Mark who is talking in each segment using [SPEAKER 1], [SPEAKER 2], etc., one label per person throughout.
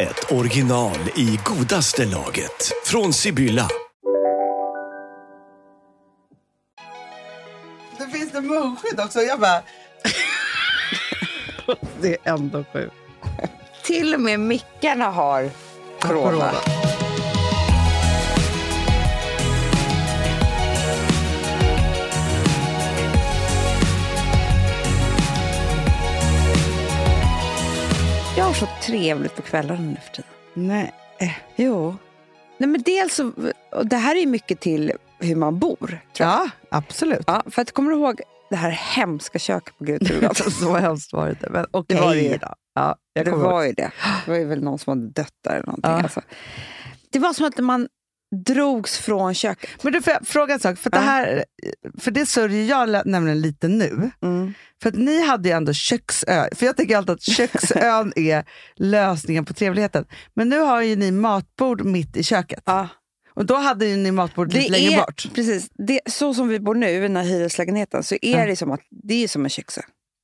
[SPEAKER 1] ett original i godaste laget. Från Sibylla.
[SPEAKER 2] Det finns det munskydd också. Jag bara...
[SPEAKER 3] Det är ändå sjukt.
[SPEAKER 4] Till och med mickarna har corona. Jag har så trevligt på kvällarna nu för tiden.
[SPEAKER 2] Nej. eh,
[SPEAKER 4] Jo. Nej, men dels så, och det här är ju mycket till hur man bor. Tror jag.
[SPEAKER 2] Ja, absolut.
[SPEAKER 4] Ja, för att kommer du ihåg det här hemska köket på Grytorgatan?
[SPEAKER 2] Alltså, så hemskt var det inte. Men okej
[SPEAKER 4] Det var det ju.
[SPEAKER 2] då. Ja, jag
[SPEAKER 4] Det
[SPEAKER 2] kommer
[SPEAKER 4] var
[SPEAKER 2] ihåg.
[SPEAKER 4] ju det. Det var ju väl någon som hade dött där eller någonting.
[SPEAKER 2] Ja.
[SPEAKER 4] Alltså. Det var som att man drogs från köket.
[SPEAKER 2] Men du, får jag fråga en sak? För, att det,
[SPEAKER 4] Ja.
[SPEAKER 2] här, för det sörjer jag lä- nämligen lite nu.
[SPEAKER 4] Mm.
[SPEAKER 2] För att ni hade ju ändå köksö. För jag tänker alltid att köksön är lösningen på trevligheten. Men nu har ju ni matbord mitt i köket.
[SPEAKER 4] Ja.
[SPEAKER 2] Och då hade ju ni matbord lite längre
[SPEAKER 4] är,
[SPEAKER 2] bort.
[SPEAKER 4] precis, det, så som vi bor nu, den här hyreslägenheten, så är det som att det är som en köksö.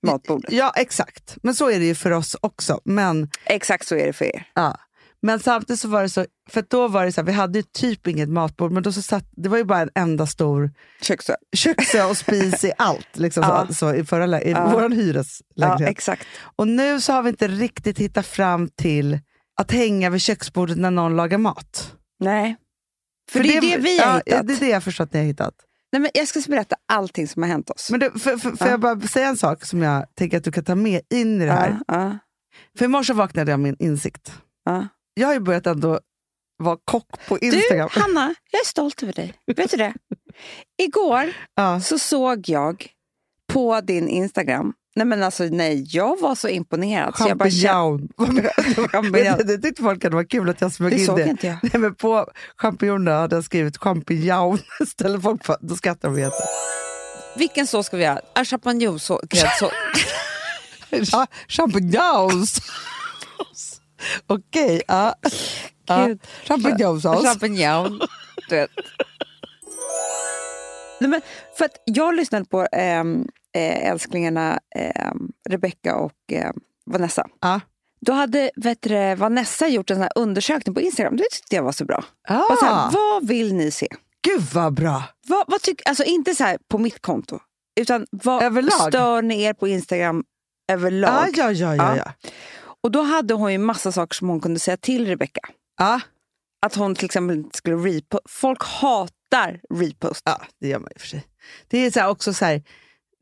[SPEAKER 4] Matbordet.
[SPEAKER 2] Ja, exakt. Men så är det ju för oss också. Men
[SPEAKER 4] Exakt så är det för er.
[SPEAKER 2] Ja. Men samtidigt så var det så, för att då var det så här, vi hade ju typ inget matbord, men då så satt, det var ju bara en enda stor
[SPEAKER 4] Köksö.
[SPEAKER 2] köksö och spis i allt. Liksom så,
[SPEAKER 4] Ja.
[SPEAKER 2] så i förra, lä- i
[SPEAKER 4] Ja.
[SPEAKER 2] vår
[SPEAKER 4] Ja,
[SPEAKER 2] hyreslägenhet.
[SPEAKER 4] exakt.
[SPEAKER 2] och nu så har vi inte riktigt hittat fram till att hänga vid köksbordet när någon lagar mat.
[SPEAKER 4] Nej. För, det är det, vi har
[SPEAKER 2] ja,
[SPEAKER 4] hittat.
[SPEAKER 2] Det är det jag förstår att ni har hittat.
[SPEAKER 4] Nej, men jag ska berätta allting som har hänt oss.
[SPEAKER 2] Men du, för, för, får
[SPEAKER 4] Ja.
[SPEAKER 2] jag bara säga en sak som jag tänker att du kan ta med in i det här?
[SPEAKER 4] ja, ja,
[SPEAKER 2] För i morse vaknade jag med en insikt.
[SPEAKER 4] ja.
[SPEAKER 2] Jag har ju börjat ändå vara kock på
[SPEAKER 4] Du,
[SPEAKER 2] Instagram.
[SPEAKER 4] Hanna, jag är stolt över dig. Vet du det? Igår
[SPEAKER 2] ja.
[SPEAKER 4] så såg jag på din Instagram, nej men alltså nej, jag var så imponerad. Så jag bara,
[SPEAKER 2] Champignon.
[SPEAKER 4] Champignon.
[SPEAKER 2] det, det tyckte folk att det var kul att jag smög
[SPEAKER 4] det
[SPEAKER 2] in
[SPEAKER 4] såg
[SPEAKER 2] det.
[SPEAKER 4] inte jag.
[SPEAKER 2] Nej, men på champinjonerna hade jag skrivit champignon istället. Folk bara, då skrattar de jätte.
[SPEAKER 4] Vilken sås ska vi ha? Ah, Champagnesås. gräddsås.
[SPEAKER 2] Ja, champignons! Okej, ja. ja.
[SPEAKER 4] Gud.
[SPEAKER 2] Champignonsås.
[SPEAKER 4] Champignon. Du vet. Nej, men för att jag lyssnade på ehm, eh, älsklingarna ehm, Rebecca och ehm, Vanessa.
[SPEAKER 2] Ja.
[SPEAKER 4] Då hade vet du, det, Vanessa gjort en sån här undersökning på Instagram. Det tyckte jag var så bra. Bara så här,
[SPEAKER 2] Ah,
[SPEAKER 4] vad vill ni se?
[SPEAKER 2] gud vad bra!
[SPEAKER 4] Vad, vad tyck, alltså inte så här på mitt konto, utan vad
[SPEAKER 2] Överlag.
[SPEAKER 4] stör ni er på Instagram överlag?
[SPEAKER 2] Ja, ja, ja,
[SPEAKER 4] Ja.
[SPEAKER 2] ja, ja.
[SPEAKER 4] Och då hade hon ju massa saker som hon kunde säga till Rebecca.
[SPEAKER 2] Ja,
[SPEAKER 4] Att hon till exempel inte skulle repost. Folk hatar repost.
[SPEAKER 2] ja det gör man i och för sig. Det är så här också så här,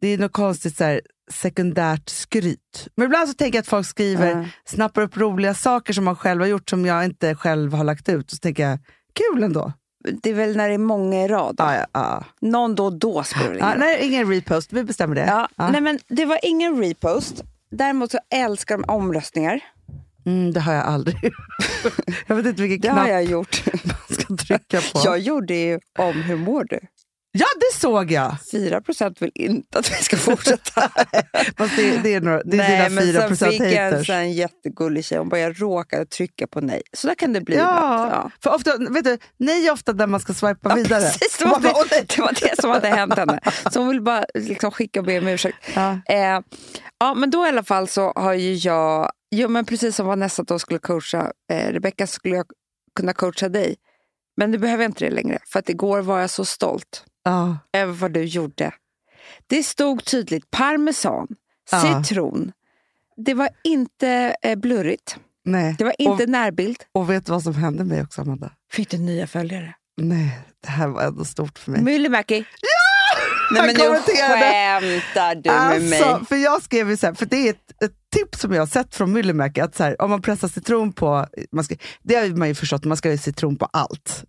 [SPEAKER 2] det är något konstigt så här, sekundärt skryt. Men ibland så tänker jag att folk skriver
[SPEAKER 4] Ja.
[SPEAKER 2] snappar upp roliga saker som man själv har gjort som jag inte själv har lagt ut. Och så tänker jag, kul ändå.
[SPEAKER 4] Det är väl när det är många i rad.
[SPEAKER 2] Ja, ja, ja.
[SPEAKER 4] Någon då och då spelar det ingen
[SPEAKER 2] Ja,
[SPEAKER 4] roll.
[SPEAKER 2] nej, ingen repost, vi bestämmer det.
[SPEAKER 4] ja,
[SPEAKER 2] Ja.
[SPEAKER 4] Nej, men Det var ingen repost. Däremot så älskar de omröstningar.
[SPEAKER 2] Mm, det har jag aldrig. jag vet inte vilken
[SPEAKER 4] Det har
[SPEAKER 2] knapp
[SPEAKER 4] jag gjort.
[SPEAKER 2] man ska trycka på.
[SPEAKER 4] Jag gjorde ju om hur mår du.
[SPEAKER 2] Ja, det såg jag!
[SPEAKER 4] 4 vill inte att vi ska fortsätta.
[SPEAKER 2] Fast det, det är, några, det är dina
[SPEAKER 4] men
[SPEAKER 2] 4
[SPEAKER 4] sen
[SPEAKER 2] procent
[SPEAKER 4] fick jag en
[SPEAKER 2] haters.
[SPEAKER 4] sån jättegullig tjej. Hon bara, jag råkade trycka på nej. Så där kan det bli
[SPEAKER 2] Ja,
[SPEAKER 4] ibland. Ja.
[SPEAKER 2] för ofta, vet du, nej är ofta där man ska swipa vidare.
[SPEAKER 4] Precis, det
[SPEAKER 2] Och
[SPEAKER 4] var
[SPEAKER 2] man bara, "Åh, nej."
[SPEAKER 4] det, det var det som hade hänt henne. Så hon ville bara liksom skicka och be om ursäkt.
[SPEAKER 2] Ja.
[SPEAKER 4] Eh, ja, men då i alla fall så har ju jag, jo, men precis som Vanessa då skulle coacha eh, Rebecca så skulle jag kunna coacha dig. Men nu behöver jag inte det längre, för att igår var jag så stolt
[SPEAKER 2] Ja.
[SPEAKER 4] över vad du gjorde. Det stod tydligt parmesan,
[SPEAKER 2] Ja.
[SPEAKER 4] citron. Det var inte eh, blurrigt,
[SPEAKER 2] nej.
[SPEAKER 4] det var inte närbild.
[SPEAKER 2] Och, och vet du vad som hände mig också, Amanda?
[SPEAKER 4] Fick du nya följare?
[SPEAKER 2] Nej, det här var ändå stort för mig.
[SPEAKER 4] Myllymäki! Ja! Nej
[SPEAKER 2] Han
[SPEAKER 4] men nu
[SPEAKER 2] kommenterade.
[SPEAKER 4] skämtar du med mig.
[SPEAKER 2] Alltså, för jag skrev ju så här, för det är ett, ett tips som jag har sett från Myllymäki, att så här, om man pressar citron på, man ska, det har ju man ju förstått, man ska ha citron på allt.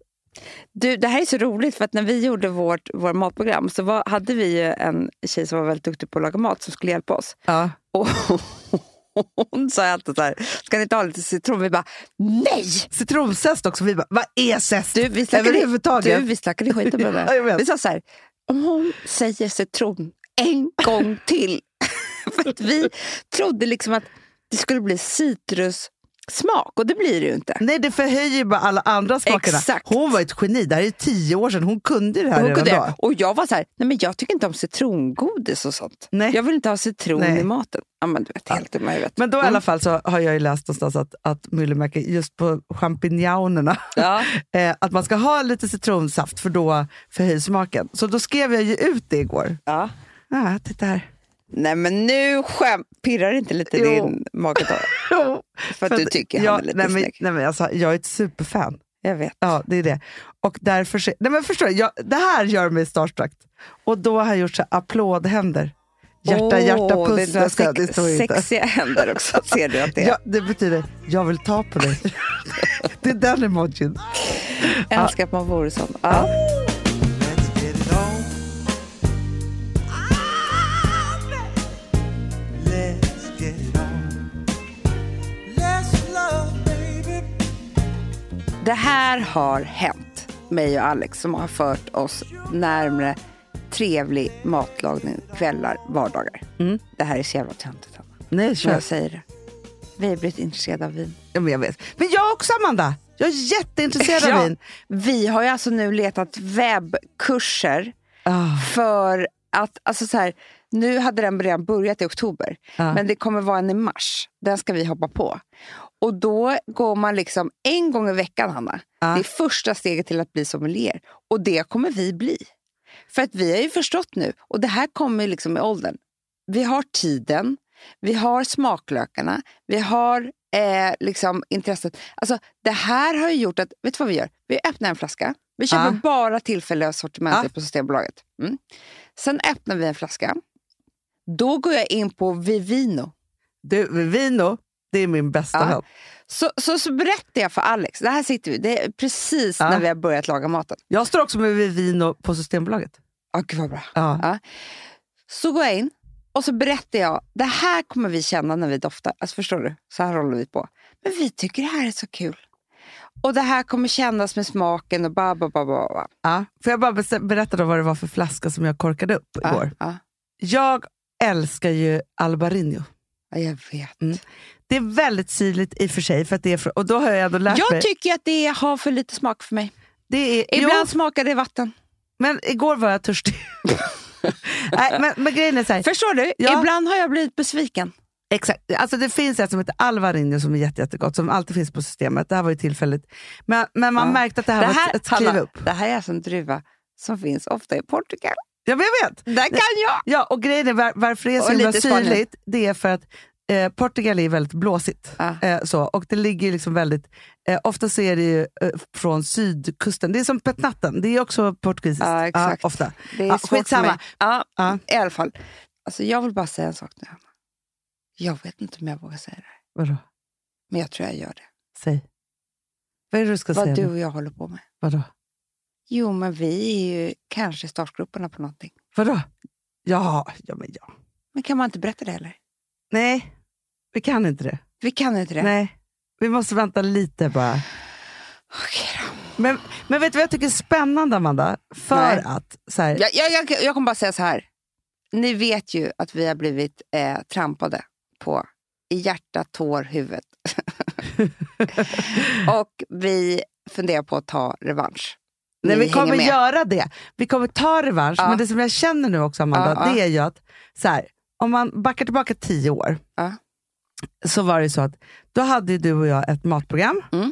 [SPEAKER 4] Du, det här är så roligt, för att när vi gjorde vårt, vårt matprogram så var, hade vi ju en tjej som var väldigt duktig på att laga mat som skulle hjälpa oss.
[SPEAKER 2] Ja.
[SPEAKER 4] Och hon sa alltid så här, ska ni inte ha lite citron? Vi bara, nej!
[SPEAKER 2] Citronzest också. Vi bara, vad är zest?
[SPEAKER 4] Du, vi snackade,
[SPEAKER 2] Överhuvudtaget.
[SPEAKER 4] du, vi snackade skiten på
[SPEAKER 2] Ja, jag
[SPEAKER 4] det.
[SPEAKER 2] vet.
[SPEAKER 4] Vi sa så här, om hon säger citron en gång till. För att vi trodde liksom att det skulle bli citrussmak och det blir det ju inte.
[SPEAKER 2] Nej, det förhöjer ju bara alla andra smakerna.
[SPEAKER 4] Exakt.
[SPEAKER 2] Hon var ett geni. Det här är tio år sedan. Hon kunde det här
[SPEAKER 4] Och, hon
[SPEAKER 2] redan
[SPEAKER 4] kunde,
[SPEAKER 2] då.
[SPEAKER 4] och jag var så här, nej men jag tycker inte om citrongodis och sånt.
[SPEAKER 2] Nej.
[SPEAKER 4] Jag vill inte ha citron
[SPEAKER 2] Nej.
[SPEAKER 4] i maten. Ja men du vet, helt dumma i huvudet. Mm.
[SPEAKER 2] Men då i alla fall så har jag ju läst någonstans att, att Myllymäki, just på champinjonerna,
[SPEAKER 4] Ja.
[SPEAKER 2] eh, att man ska ha lite citronsaft för då förhöjs smaken. Så då skrev jag ju ut det igår.
[SPEAKER 4] Ja.
[SPEAKER 2] Ja, titta här.
[SPEAKER 4] Nej men nu skäm, pirrar inte lite
[SPEAKER 2] Jo.
[SPEAKER 4] din mage då? För att du tycker han
[SPEAKER 2] jag,
[SPEAKER 4] är lite
[SPEAKER 2] nej, men,
[SPEAKER 4] snygg.
[SPEAKER 2] nej, men alltså, Jag är ett superfan.
[SPEAKER 4] Jag vet.
[SPEAKER 2] Ja, det är det. Och därför... så- Nej, men förstår du, jag, det här gör mig starstruck. Och då har jag gjort så här applådhänder. Hjärta, hjärta,
[SPEAKER 4] Åh,
[SPEAKER 2] puss.
[SPEAKER 4] det där
[SPEAKER 2] nästa, det står
[SPEAKER 4] sex,
[SPEAKER 2] inte.
[SPEAKER 4] sexiga händer också. Ser du att det är?
[SPEAKER 2] Ja, det betyder, jag vill ta på dig. det är den emojin.
[SPEAKER 4] Jag önskar att man vore sån. Ja. Det här har hänt mig och Alex som har fört oss närmre trevlig matlagning kvällar, vardagar. Det här är så jävla töntigt, Hanna.
[SPEAKER 2] Nej,
[SPEAKER 4] Men Jag säger det. Vi har blivit intresserade av vin.
[SPEAKER 2] Ja, men jag vet. Men jag också, Amanda. Jag är jätteintresserad av vin.
[SPEAKER 4] Vi har ju alltså nu letat webbkurser
[SPEAKER 2] Ah.
[SPEAKER 4] för att, alltså så här, nu hade den redan börjat i oktober,
[SPEAKER 2] Ja.
[SPEAKER 4] men det kommer vara en i mars. Den ska vi hoppa på. Och då går man liksom en gång i veckan, Hanna.
[SPEAKER 2] Ja.
[SPEAKER 4] Det är första steget till att bli sommelier. Och det kommer vi bli. För att vi har ju förstått nu, och det här kommer ju liksom med åldern. Vi har tiden, vi har smaklökarna, vi har eh, liksom intresset. Alltså, det här har ju gjort att, vet du vad vi gör? Vi öppnar en flaska. Vi köper
[SPEAKER 2] Ja.
[SPEAKER 4] bara tillfälliga sortimentet
[SPEAKER 2] Ja.
[SPEAKER 4] på Systembolaget. Mm. Sen öppnar vi en flaska. Då går jag in på Vivino.
[SPEAKER 2] Du, vino, det är min bästa
[SPEAKER 4] Ja.
[SPEAKER 2] vän.
[SPEAKER 4] Så, så, så berättar jag för Alex, det här sitter vi, det är precis
[SPEAKER 2] Ja.
[SPEAKER 4] när vi har börjat laga maten.
[SPEAKER 2] Jag står också med vino på Systembolaget.
[SPEAKER 4] Ja, gud vad bra.
[SPEAKER 2] Ja.
[SPEAKER 4] Ja. Så går jag in och så berättar jag, det här kommer vi känna när vi doftar. Alltså förstår du? Så här håller vi på. Men vi tycker det här är så kul. Och det här kommer kännas med smaken och ba, ba, ba, ba, ba.
[SPEAKER 2] Ja. Får jag bara bes- berätta då vad det var för flaska som jag korkade upp
[SPEAKER 4] Ja,
[SPEAKER 2] igår?
[SPEAKER 4] ja.
[SPEAKER 2] Jag älskar ju Albarino.
[SPEAKER 4] Ja, jag vet.
[SPEAKER 2] Det är väldigt syrligt i och för sig, för att det är för, och då har jag ändå lärt mig.
[SPEAKER 4] Jag tycker att det har för lite smak för mig.
[SPEAKER 2] det är,
[SPEAKER 4] Ibland
[SPEAKER 2] jo,
[SPEAKER 4] smakar det vatten.
[SPEAKER 2] men igår var jag törstig. Nej, men, men grejen är så här,
[SPEAKER 4] Förstår du?
[SPEAKER 2] Ja.
[SPEAKER 4] Ibland har jag blivit besviken.
[SPEAKER 2] Exakt. Alltså det finns ett som heter Alvarinho som är jätte, jättegott, som alltid finns på systemet. Det här var ju tillfälligt. Men, men man
[SPEAKER 4] Ja.
[SPEAKER 2] märkte att det här,
[SPEAKER 4] Det
[SPEAKER 2] var
[SPEAKER 4] här,
[SPEAKER 2] ett, ett kliv
[SPEAKER 4] Hanna,
[SPEAKER 2] upp.
[SPEAKER 4] det här är alltså en druva som finns ofta i Portugal.
[SPEAKER 2] Ja, men jag vet.
[SPEAKER 4] Där kan jag!
[SPEAKER 2] Ja, och grejen är var, varför det är så
[SPEAKER 4] Och
[SPEAKER 2] himla
[SPEAKER 4] lite Spanien.
[SPEAKER 2] syrligt, det är för att eh, Portugal är väldigt blåsigt.
[SPEAKER 4] Ja.
[SPEAKER 2] Eh, så, och det ligger ju liksom väldigt, eh, ofta så är det ju eh, från sydkusten. Det är som petnatten, det är också portugisiskt.
[SPEAKER 4] Ja, Ah, exakt.
[SPEAKER 2] ofta.
[SPEAKER 4] Det är
[SPEAKER 2] Ja,
[SPEAKER 4] svårt
[SPEAKER 2] skitsamma. Ah,
[SPEAKER 4] för mig. Ah. Ja,
[SPEAKER 2] Ja.
[SPEAKER 4] I alla fall. Alltså, jag vill bara säga en sak nu, Hanna. Jag vet inte om jag vågar säga det, här,
[SPEAKER 2] Vadå?
[SPEAKER 4] men jag tror jag gör det.
[SPEAKER 2] Säg. Vad är det du ska
[SPEAKER 4] Vad
[SPEAKER 2] säga?
[SPEAKER 4] du
[SPEAKER 2] nu?
[SPEAKER 4] och jag håller på med.
[SPEAKER 2] Vadå?
[SPEAKER 4] Jo, men vi är ju kanske i startgrupperna på någonting.
[SPEAKER 2] Vadå? Ja, ja, men ja.
[SPEAKER 4] Men kan man inte berätta det heller?
[SPEAKER 2] Nej, vi kan inte det.
[SPEAKER 4] Vi kan inte det.
[SPEAKER 2] Nej, vi måste vänta lite bara.
[SPEAKER 4] Okej då.
[SPEAKER 2] Men, men vet du vad jag tycker är spännande, Amanda? För
[SPEAKER 4] Nej.
[SPEAKER 2] att... Så här,
[SPEAKER 4] Jag, jag, jag, jag kommer bara säga så här. Ni vet ju att vi har blivit eh, trampade på i hjärta, tår, huvud. och vi funderar på att ta revansch.
[SPEAKER 2] nej,
[SPEAKER 4] Ni
[SPEAKER 2] vi kommer
[SPEAKER 4] hänger med.
[SPEAKER 2] göra det. Vi kommer ta revansch.
[SPEAKER 4] Ja.
[SPEAKER 2] Men det som jag känner nu också, Amanda,
[SPEAKER 4] Ja, ja.
[SPEAKER 2] det är ju att så här, om man backar tillbaka tio år,
[SPEAKER 4] Ja.
[SPEAKER 2] så var det ju så att då hade ju du och jag ett matprogram.
[SPEAKER 4] Mm.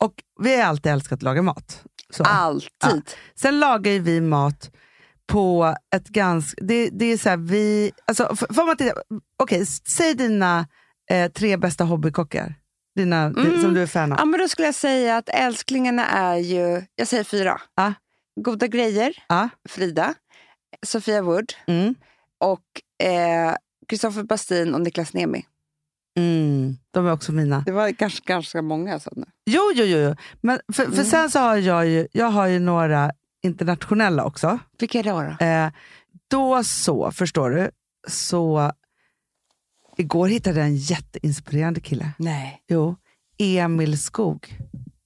[SPEAKER 2] Och vi har alltid älskat att laga mat. Så.
[SPEAKER 4] Alltid.
[SPEAKER 2] Sen lagar ju vi mat på ett ganska... Det, det är så här, vi... Alltså, f- får man titta, okej, s- säg dina eh, tre bästa hobbykockar. Dina,
[SPEAKER 4] Mm.
[SPEAKER 2] Som du är fan av.
[SPEAKER 4] Ja, men då skulle jag säga att älsklingarna är ju, jag säger fyra.
[SPEAKER 2] Ja.
[SPEAKER 4] Goda grejer,
[SPEAKER 2] Ja.
[SPEAKER 4] Frida, Sofia Wood
[SPEAKER 2] Mm.
[SPEAKER 4] och eh, Kristoffer Bastin och Niklas Nemi.
[SPEAKER 2] Mm. De är också mina.
[SPEAKER 4] Det var ganska, ganska många alltså. sådana.
[SPEAKER 2] Jo, jo, jo. jo. Men för, för
[SPEAKER 4] Mm.
[SPEAKER 2] sen så har jag ju, jag har ju några internationella också.
[SPEAKER 4] Vilka är det då?
[SPEAKER 2] Eh, då så, förstår du, så Igår hittade jag en jätteinspirerande kille.
[SPEAKER 4] Nej.
[SPEAKER 2] Jo, Emil Skog.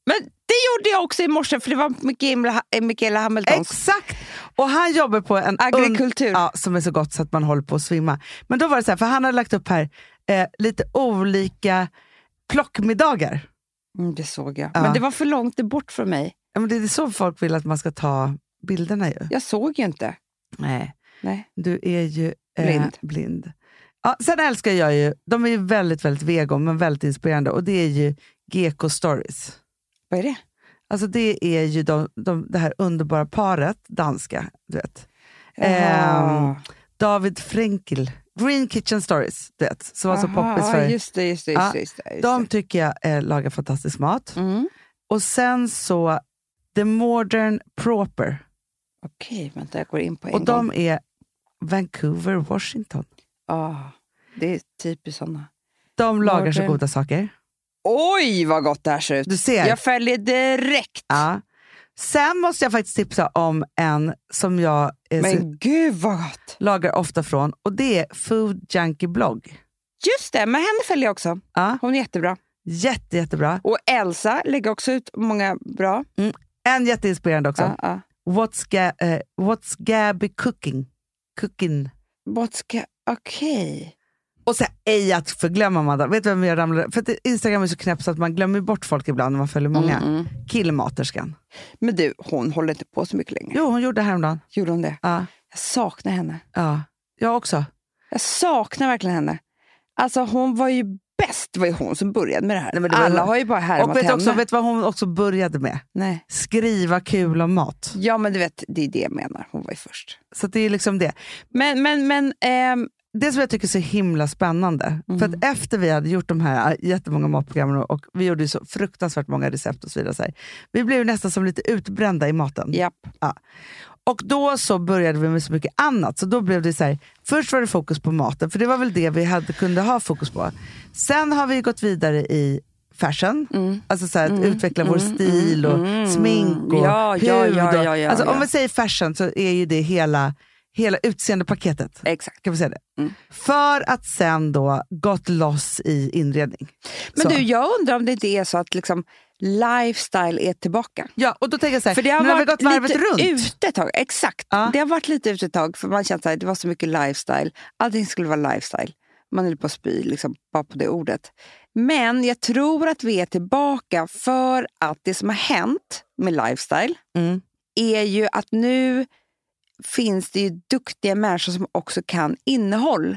[SPEAKER 4] Men det gjorde jag också i morse, för det var eh, Mikaela, Mikaela Hamiltons.
[SPEAKER 2] Exakt! Och han jobbar på en...
[SPEAKER 4] Agrikultur.
[SPEAKER 2] un- Ja, som är så gott så att man håller på att svimma. Men då var det så här, för han hade lagt upp här eh, lite olika plockmiddagar.
[SPEAKER 4] Mm, det såg jag.
[SPEAKER 2] Ja.
[SPEAKER 4] Men det var för långt bort från mig.
[SPEAKER 2] Ja, men det är så folk vill att man ska ta bilderna ju.
[SPEAKER 4] Jag såg ju inte.
[SPEAKER 2] Nej.
[SPEAKER 4] Nej.
[SPEAKER 2] Du är ju eh,
[SPEAKER 4] Blind.
[SPEAKER 2] blind. Ja, sen älskar jag ju, de är ju väldigt, väldigt vegan men väldigt inspirerande och det är ju Geko Stories.
[SPEAKER 4] Vad är det?
[SPEAKER 2] Alltså det är ju de, de, det här underbara paret, danska, du vet.
[SPEAKER 4] Jaha.
[SPEAKER 2] Ehm, David Frenkel, Green Kitchen Stories, du vet, som var så
[SPEAKER 4] Aha,
[SPEAKER 2] poppis
[SPEAKER 4] ja,
[SPEAKER 2] för.
[SPEAKER 4] Just det, just det. Just
[SPEAKER 2] Ja,
[SPEAKER 4] det, just det, just
[SPEAKER 2] De tycker jag eh, lagar fantastisk mat.
[SPEAKER 4] det. Mm.
[SPEAKER 2] Och sen så The Modern Proper.
[SPEAKER 4] Okej, vänta, jag går in på en
[SPEAKER 2] Och
[SPEAKER 4] gång.
[SPEAKER 2] de är Vancouver, Washington.
[SPEAKER 4] Ah, det är typiskt sådana.
[SPEAKER 2] De lagar så
[SPEAKER 4] Modern-
[SPEAKER 2] goda saker.
[SPEAKER 4] Oj, vad gott det här ser ut!
[SPEAKER 2] Du ser.
[SPEAKER 4] Jag följer direkt!
[SPEAKER 2] Ja. Sen måste jag faktiskt tipsa om en som jag eh, så-
[SPEAKER 4] Men gud vad gott!
[SPEAKER 2] lagar ofta från och det är Food Junkie blogg.
[SPEAKER 4] Just det, men henne följer jag också.
[SPEAKER 2] Ja.
[SPEAKER 4] Hon är jättebra.
[SPEAKER 2] Jätte, jättebra.
[SPEAKER 4] Och Elsa lägger också ut många bra.
[SPEAKER 2] En jätteinspirerande också.
[SPEAKER 4] Ja, ja.
[SPEAKER 2] What's, ga, eh, what's Gabby cooking? cooking?
[SPEAKER 4] Botska, okej.
[SPEAKER 2] Och sen ej att förglömma Amanda. Vet du vem jag ramlade? För att Instagram är så knäppt så att man glömmer bort folk ibland när man följer många.
[SPEAKER 4] Mm, mm.
[SPEAKER 2] Killmaterskan.
[SPEAKER 4] Men du, hon håller inte på så mycket längre.
[SPEAKER 2] Jo, hon gjorde det häromdagen.
[SPEAKER 4] Gjorde hon det?
[SPEAKER 2] Ja,
[SPEAKER 4] Jag saknar henne.
[SPEAKER 2] ja. Jag också.
[SPEAKER 4] Jag saknar verkligen henne. Alltså hon var ju bäst, det var ju hon som började med det här.
[SPEAKER 2] Nej, men det var-
[SPEAKER 4] Alla har ju bara härmat
[SPEAKER 2] Och vet
[SPEAKER 4] henne.
[SPEAKER 2] du också, vet du vad hon också började med?
[SPEAKER 4] Nej.
[SPEAKER 2] Skriva kul om mat.
[SPEAKER 4] Ja, men du vet, det är det jag menar. Hon var ju först.
[SPEAKER 2] Så att det är liksom det.
[SPEAKER 4] Men, men, men, ehm,
[SPEAKER 2] Det som jag tycker är så himla spännande, för
[SPEAKER 4] Mm.
[SPEAKER 2] att efter vi hade gjort de här äh, jättemånga matprogrammen och- och vi gjorde ju så fruktansvärt många recept och så vidare. Så här. Vi blev ju nästan som lite utbrända i maten.
[SPEAKER 4] japp.
[SPEAKER 2] Och då så började vi med så mycket annat. Så då blev det så här, först var det fokus på maten, för det var väl det vi hade, kunde ha fokus på. Sen har vi gått vidare i fashion,
[SPEAKER 4] Mm.
[SPEAKER 2] alltså så här, att utveckla vår stil och smink och
[SPEAKER 4] Ja,
[SPEAKER 2] hud.
[SPEAKER 4] ja, ja,
[SPEAKER 2] och-
[SPEAKER 4] ja, ja,
[SPEAKER 2] alltså,
[SPEAKER 4] ja.
[SPEAKER 2] Om vi säger fashion så är ju det hela, hela utseendepaketet.
[SPEAKER 4] Exakt.
[SPEAKER 2] Kan vi säga det? För att sen då gått loss i inredning.
[SPEAKER 4] Men
[SPEAKER 2] så.
[SPEAKER 4] du, jag undrar om det inte är så att liksom, lifestyle är tillbaka.
[SPEAKER 2] ja, och då tänker jag så här,
[SPEAKER 4] För det har
[SPEAKER 2] nu har vi
[SPEAKER 4] varit
[SPEAKER 2] gått varvet
[SPEAKER 4] lite
[SPEAKER 2] runt.
[SPEAKER 4] ute ett tag. Exakt.
[SPEAKER 2] Ja.
[SPEAKER 4] Det har varit lite ute ett tag, för man kände att det var så mycket lifestyle. Allting skulle vara lifestyle. Man höll på att spy liksom, bara på det ordet. Men jag tror att vi är tillbaka för att det som har hänt med lifestyle
[SPEAKER 2] Mm.
[SPEAKER 4] är ju att nu finns det ju duktiga människor som också kan innehåll.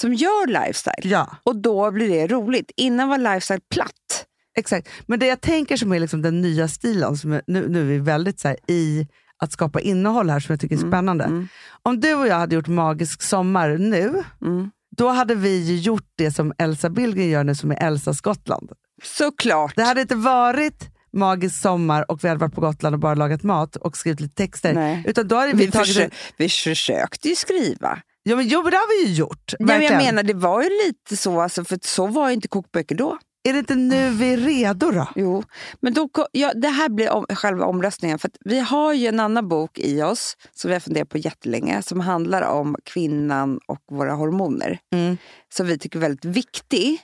[SPEAKER 4] Som gör lifestyle.
[SPEAKER 2] Ja,
[SPEAKER 4] Och då blir det roligt. Innan var lifestyle platt.
[SPEAKER 2] exakt. Men det jag tänker som är liksom den nya stilen, som är, nu, nu är vi väldigt så här, i att skapa innehåll här som jag tycker är spännande.
[SPEAKER 4] mm.
[SPEAKER 2] Om du och jag hade gjort Magisk sommar nu,
[SPEAKER 4] Mm.
[SPEAKER 2] då hade vi ju gjort det som Elsa Billgren gör nu som är Elsa Skottland.
[SPEAKER 4] Såklart.
[SPEAKER 2] Det hade inte varit Magisk sommar och vi hade varit på Gotland och bara lagat mat och skrivit lite texter.
[SPEAKER 4] Nej.
[SPEAKER 2] Utan då hade vi,
[SPEAKER 4] vi,
[SPEAKER 2] tagit...
[SPEAKER 4] försö- vi försökte ju skriva.
[SPEAKER 2] Ja, men, jo, men det har vi ju gjort.
[SPEAKER 4] Ja, men jag
[SPEAKER 2] verkligen.
[SPEAKER 4] menar, det var ju lite så, alltså, för så var ju inte kokböcker då.
[SPEAKER 2] Är det inte nu vi är redo då?
[SPEAKER 4] Jo, men då, ko- ja, det här blir om, själva omröstningen. För att vi har ju en annan bok i oss som vi har funderat på jättelänge som handlar om kvinnan och våra hormoner.
[SPEAKER 2] Mm.
[SPEAKER 4] Som vi tycker är väldigt viktig.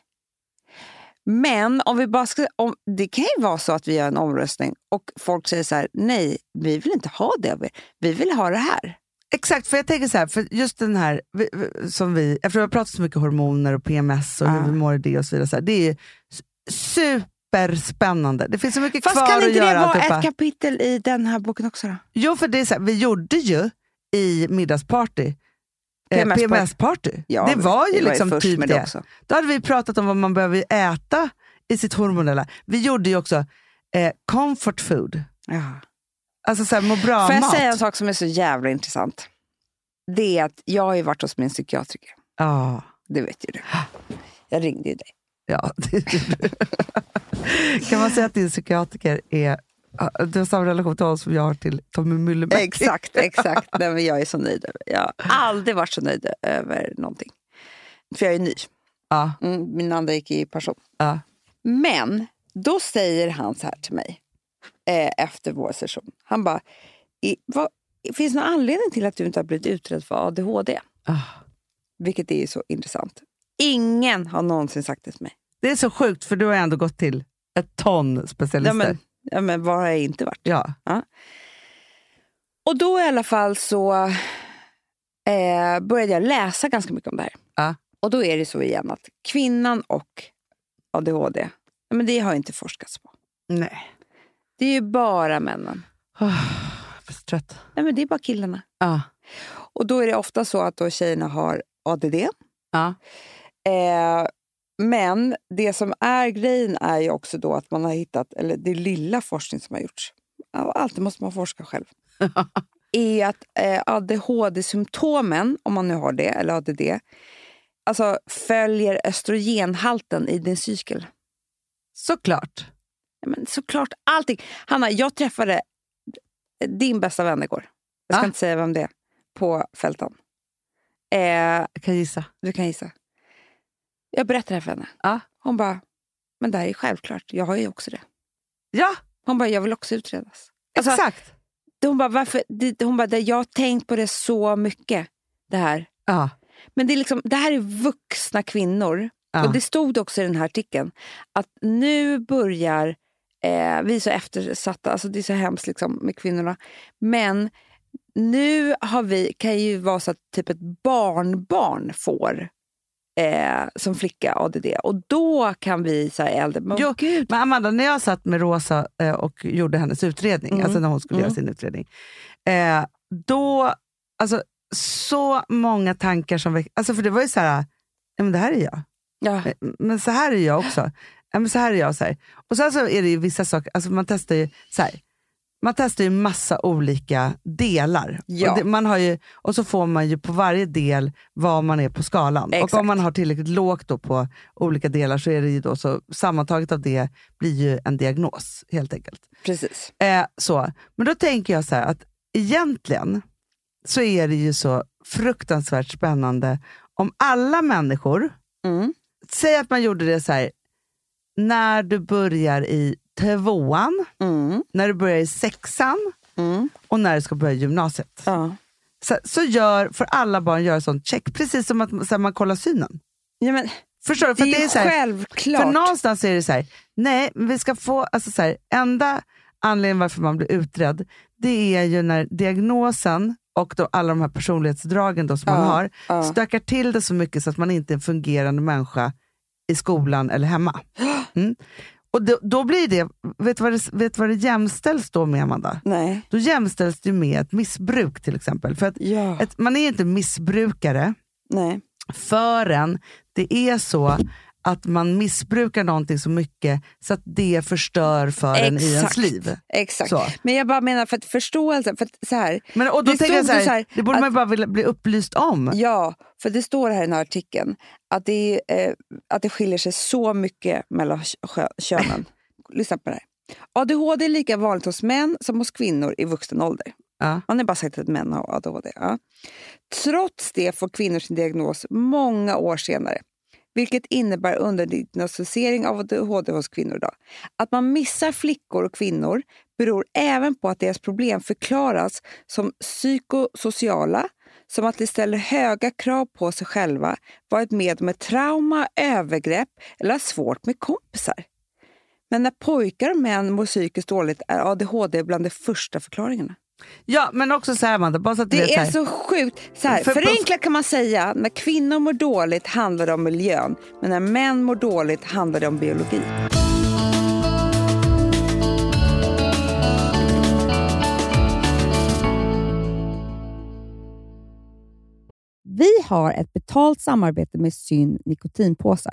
[SPEAKER 4] Men om vi bara ska, om, det kan ju vara så att vi gör en omröstning och folk säger så här, nej, vi vill inte ha det av er. Vi vill ha det här.
[SPEAKER 2] Exakt, för jag tänker så här, för just den här vi- vi- som vi, eftersom vi har pratat så mycket hormoner och PMS och
[SPEAKER 4] Ah.
[SPEAKER 2] hur vi mår i det och så vidare, så här, det är ju s- superspännande. Det finns så mycket
[SPEAKER 4] Fast
[SPEAKER 2] kvar
[SPEAKER 4] kan
[SPEAKER 2] att
[SPEAKER 4] inte det
[SPEAKER 2] göra.
[SPEAKER 4] vara
[SPEAKER 2] alltihopa.
[SPEAKER 4] ett kapitel i den här boken också då?
[SPEAKER 2] Jo, för det är så här, vi gjorde ju i middagsparty eh,
[SPEAKER 4] PMS-party.
[SPEAKER 2] PMS-party. PMS-party.
[SPEAKER 4] Ja,
[SPEAKER 2] det var ju
[SPEAKER 4] vi var ju
[SPEAKER 2] liksom
[SPEAKER 4] först
[SPEAKER 2] typ
[SPEAKER 4] med
[SPEAKER 2] det.
[SPEAKER 4] det också.
[SPEAKER 2] Då hade vi pratat om vad man behöver äta i sitt hormonella. Vi gjorde ju också eh, comfort food,
[SPEAKER 4] Ja.
[SPEAKER 2] alltså så här, må bra
[SPEAKER 4] Får jag
[SPEAKER 2] mat.
[SPEAKER 4] säga en sak som är så jävla intressant? Det är att jag har ju varit hos min psykiatriker.
[SPEAKER 2] Ja.
[SPEAKER 4] Det vet ju du. Jag ringde ju dig.
[SPEAKER 2] Ja, det är du. Kan man säga att din psykiatriker är... ja, Du har samma relation till honom som jag har till Tommy Myllymäki.
[SPEAKER 4] Exakt, exakt. Nej, men jag är så nöjd. över- Jag har aldrig varit så nöjd över någonting. För jag är ny.
[SPEAKER 2] Ja,
[SPEAKER 4] Mm, Min andra gick i pension.
[SPEAKER 2] ja.
[SPEAKER 4] Men då säger han så här till mig eh, efter vår session. Han bara, "I- vad, finns det någon anledning till att du inte har blivit utredd för ADHD?
[SPEAKER 2] Ah.
[SPEAKER 4] Vilket är ju så intressant. Ingen har någonsin sagt det till mig.
[SPEAKER 2] Det är så sjukt, för du har ändå gått till ett ton
[SPEAKER 4] Ja,
[SPEAKER 2] specialister.
[SPEAKER 4] men, ja, men var har jag inte varit?
[SPEAKER 2] ja.
[SPEAKER 4] Och då i alla fall så eh, började jag läsa ganska mycket om det här.
[SPEAKER 2] Ja.
[SPEAKER 4] Och då är det så igen att kvinnan och ADHD, ja, men det har inte forskats på.
[SPEAKER 2] Nej.
[SPEAKER 4] Det är ju bara männen.
[SPEAKER 2] Ah, Jag är så trött.
[SPEAKER 4] Nej, men det är bara killarna.
[SPEAKER 2] Ja.
[SPEAKER 4] Och då är det ofta så att då tjejerna har ADD.
[SPEAKER 2] Ja.
[SPEAKER 4] Eh, men det som är grejen är ju också då att man har hittat, eller det lilla forskning som har gjorts, ja, alltid måste man forska själv, är att eh, ADHD-symptomen, om man nu har det, eller ADD, alltså följer östrogenhalten i din cykel.
[SPEAKER 2] Såklart.
[SPEAKER 4] Ja, Men såklart allting. Hanna, jag träffade din bästa vän igår. Jag ska
[SPEAKER 2] Ah.
[SPEAKER 4] inte säga vem det är. På fältan. Eh,
[SPEAKER 2] Jag kan gissa.
[SPEAKER 4] du kan gissa. Jag berättade det här för henne.
[SPEAKER 2] Ja.
[SPEAKER 4] Hon bara, men det här är självklart. Jag har ju också det.
[SPEAKER 2] Ja,
[SPEAKER 4] Hon bara, jag vill också utredas. Alltså,
[SPEAKER 2] exakt.
[SPEAKER 4] Hon bara, varför? det- Hon bara, det- jag har tänkt på det så mycket. Det här.
[SPEAKER 2] Ja.
[SPEAKER 4] Men det, är liksom, det här är vuxna kvinnor.
[SPEAKER 2] Ja.
[SPEAKER 4] Och Det stod också i den här artikeln att nu börjar... Eh, vi är så eftersatta, alltså det är så hemskt liksom med kvinnorna. Men nu har vi, kan ju vara så att typ ett barnbarn får eh, som flicka ADD. Och då kan vi så här äldre... Men,
[SPEAKER 2] Jo, men Amanda, när jag satt med Rosa eh, och gjorde hennes utredning,
[SPEAKER 4] Mm.
[SPEAKER 2] alltså när hon skulle göra sin utredning, eh, då, alltså så många tankar som väcktes. Alltså, för det var ju så här, ja, men det här är jag.
[SPEAKER 4] ja,
[SPEAKER 2] Eh, Men så här är jag också. Ja, men så här är jag. och Så här. Och sen så är det ju vissa saker, alltså man testar ju så här. Man testar ju massa olika delar.
[SPEAKER 4] Ja.
[SPEAKER 2] Och, det, man har ju, och så får man ju på varje del vad man är på skalan. Och
[SPEAKER 4] Exakt.
[SPEAKER 2] om man har tillräckligt lågt då på olika delar så är det ju då så sammantaget av det blir ju en diagnos helt enkelt.
[SPEAKER 4] precis.
[SPEAKER 2] Eh, så. Men då tänker jag så här att egentligen så är det ju så fruktansvärt spännande om alla människor
[SPEAKER 4] Mm.
[SPEAKER 2] säg att man gjorde det så här. När du börjar i tvåan,
[SPEAKER 4] Mm.
[SPEAKER 2] när du börjar i sexan
[SPEAKER 4] Mm.
[SPEAKER 2] och när du ska börja gymnasiet.
[SPEAKER 4] Ja.
[SPEAKER 2] Så, så gör, får alla barn göra sånt check, precis som att så här, man kollar synen.
[SPEAKER 4] Ja, men,
[SPEAKER 2] Förstår du?
[SPEAKER 4] det
[SPEAKER 2] För,
[SPEAKER 4] är
[SPEAKER 2] att
[SPEAKER 4] ju
[SPEAKER 2] det är så här,
[SPEAKER 4] självklart.
[SPEAKER 2] för någonstans är det så här, nej, men vi ska få, alltså så här, enda anledningen varför man blir utredd, det är ju när diagnosen och då alla de här personlighetsdragen då som
[SPEAKER 4] Ja,
[SPEAKER 2] man har
[SPEAKER 4] ja.
[SPEAKER 2] stökar till det så mycket så att man inte är en fungerande människa i skolan eller hemma. Mm. Och då, då blir det, vet du vad det, vet du vad det jämställs då med Amanda?
[SPEAKER 4] Nej.
[SPEAKER 2] Då jämställs det ju med ett missbruk till exempel. För att
[SPEAKER 4] Ja.
[SPEAKER 2] ett, man är inte missbrukare
[SPEAKER 4] Nej.
[SPEAKER 2] förrän det är så att man missbrukar någonting så mycket så att det förstör för en i ens
[SPEAKER 4] Exakt.
[SPEAKER 2] liv.
[SPEAKER 4] Exakt.
[SPEAKER 2] Så.
[SPEAKER 4] Men jag bara menar för att förståelsen, för att så här,
[SPEAKER 2] Men, och då
[SPEAKER 4] Det
[SPEAKER 2] tänker jag
[SPEAKER 4] stod
[SPEAKER 2] så
[SPEAKER 4] ju
[SPEAKER 2] här,
[SPEAKER 4] så här
[SPEAKER 2] det borde
[SPEAKER 4] att-
[SPEAKER 2] man ju bara vilja bli upplyst om.
[SPEAKER 4] ja, för det står här i den här artikeln att det, är, eh, att det skiljer sig så mycket mellan kö- könen. Lyssna på det här. ADHD är lika vanligt hos män som hos kvinnor i vuxen ålder.
[SPEAKER 2] Ja.
[SPEAKER 4] Man har bara sagt att män har ADHD. Ja. Trots det får kvinnor sin diagnos många år senare. Vilket innebär underdiagnostisering av ADHD hos kvinnor idag. Att man missar flickor och kvinnor beror även på att deras problem förklaras som psykosociala, som att de ställer höga krav på sig själva, varit med om ett trauma, övergrepp eller har svårt med kompisar. Men när pojkar och män mår psykiskt dåligt är ADHD bland de första förklaringarna.
[SPEAKER 2] Ja, men också så här Amanda, bara så att du vet
[SPEAKER 4] Det
[SPEAKER 2] så
[SPEAKER 4] är
[SPEAKER 2] här,
[SPEAKER 4] så sjukt. Så här,
[SPEAKER 2] För-
[SPEAKER 4] förenklat kan man säga, när kvinnor mår dåligt handlar det om miljön, men när män mår dåligt handlar det om biologi. Vi har ett betalt samarbete med Syn nikotinpåsar.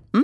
[SPEAKER 2] Mm.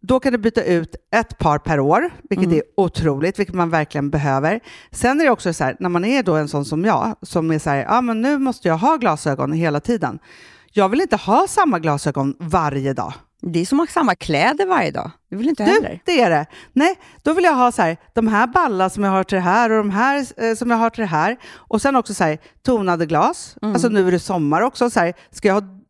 [SPEAKER 2] då kan du byta ut ett par per år, vilket är otroligt, vilket man verkligen behöver. Sen är det också så här, när man är då en sån som jag, som är så här, ah, men nu måste jag ha glasögon hela tiden. Jag vill inte ha samma glasögon varje dag.
[SPEAKER 4] Det är som att ha samma kläder varje dag. Det vill inte jag
[SPEAKER 2] Du,
[SPEAKER 4] heller.
[SPEAKER 2] det är det. Nej, då vill jag ha så här, de här balla som jag har till det här och de här eh, som jag har till det här. Och sen också så här, tonade glas.
[SPEAKER 4] Mm.
[SPEAKER 2] Alltså nu är det sommar också. Så här, ska jag ha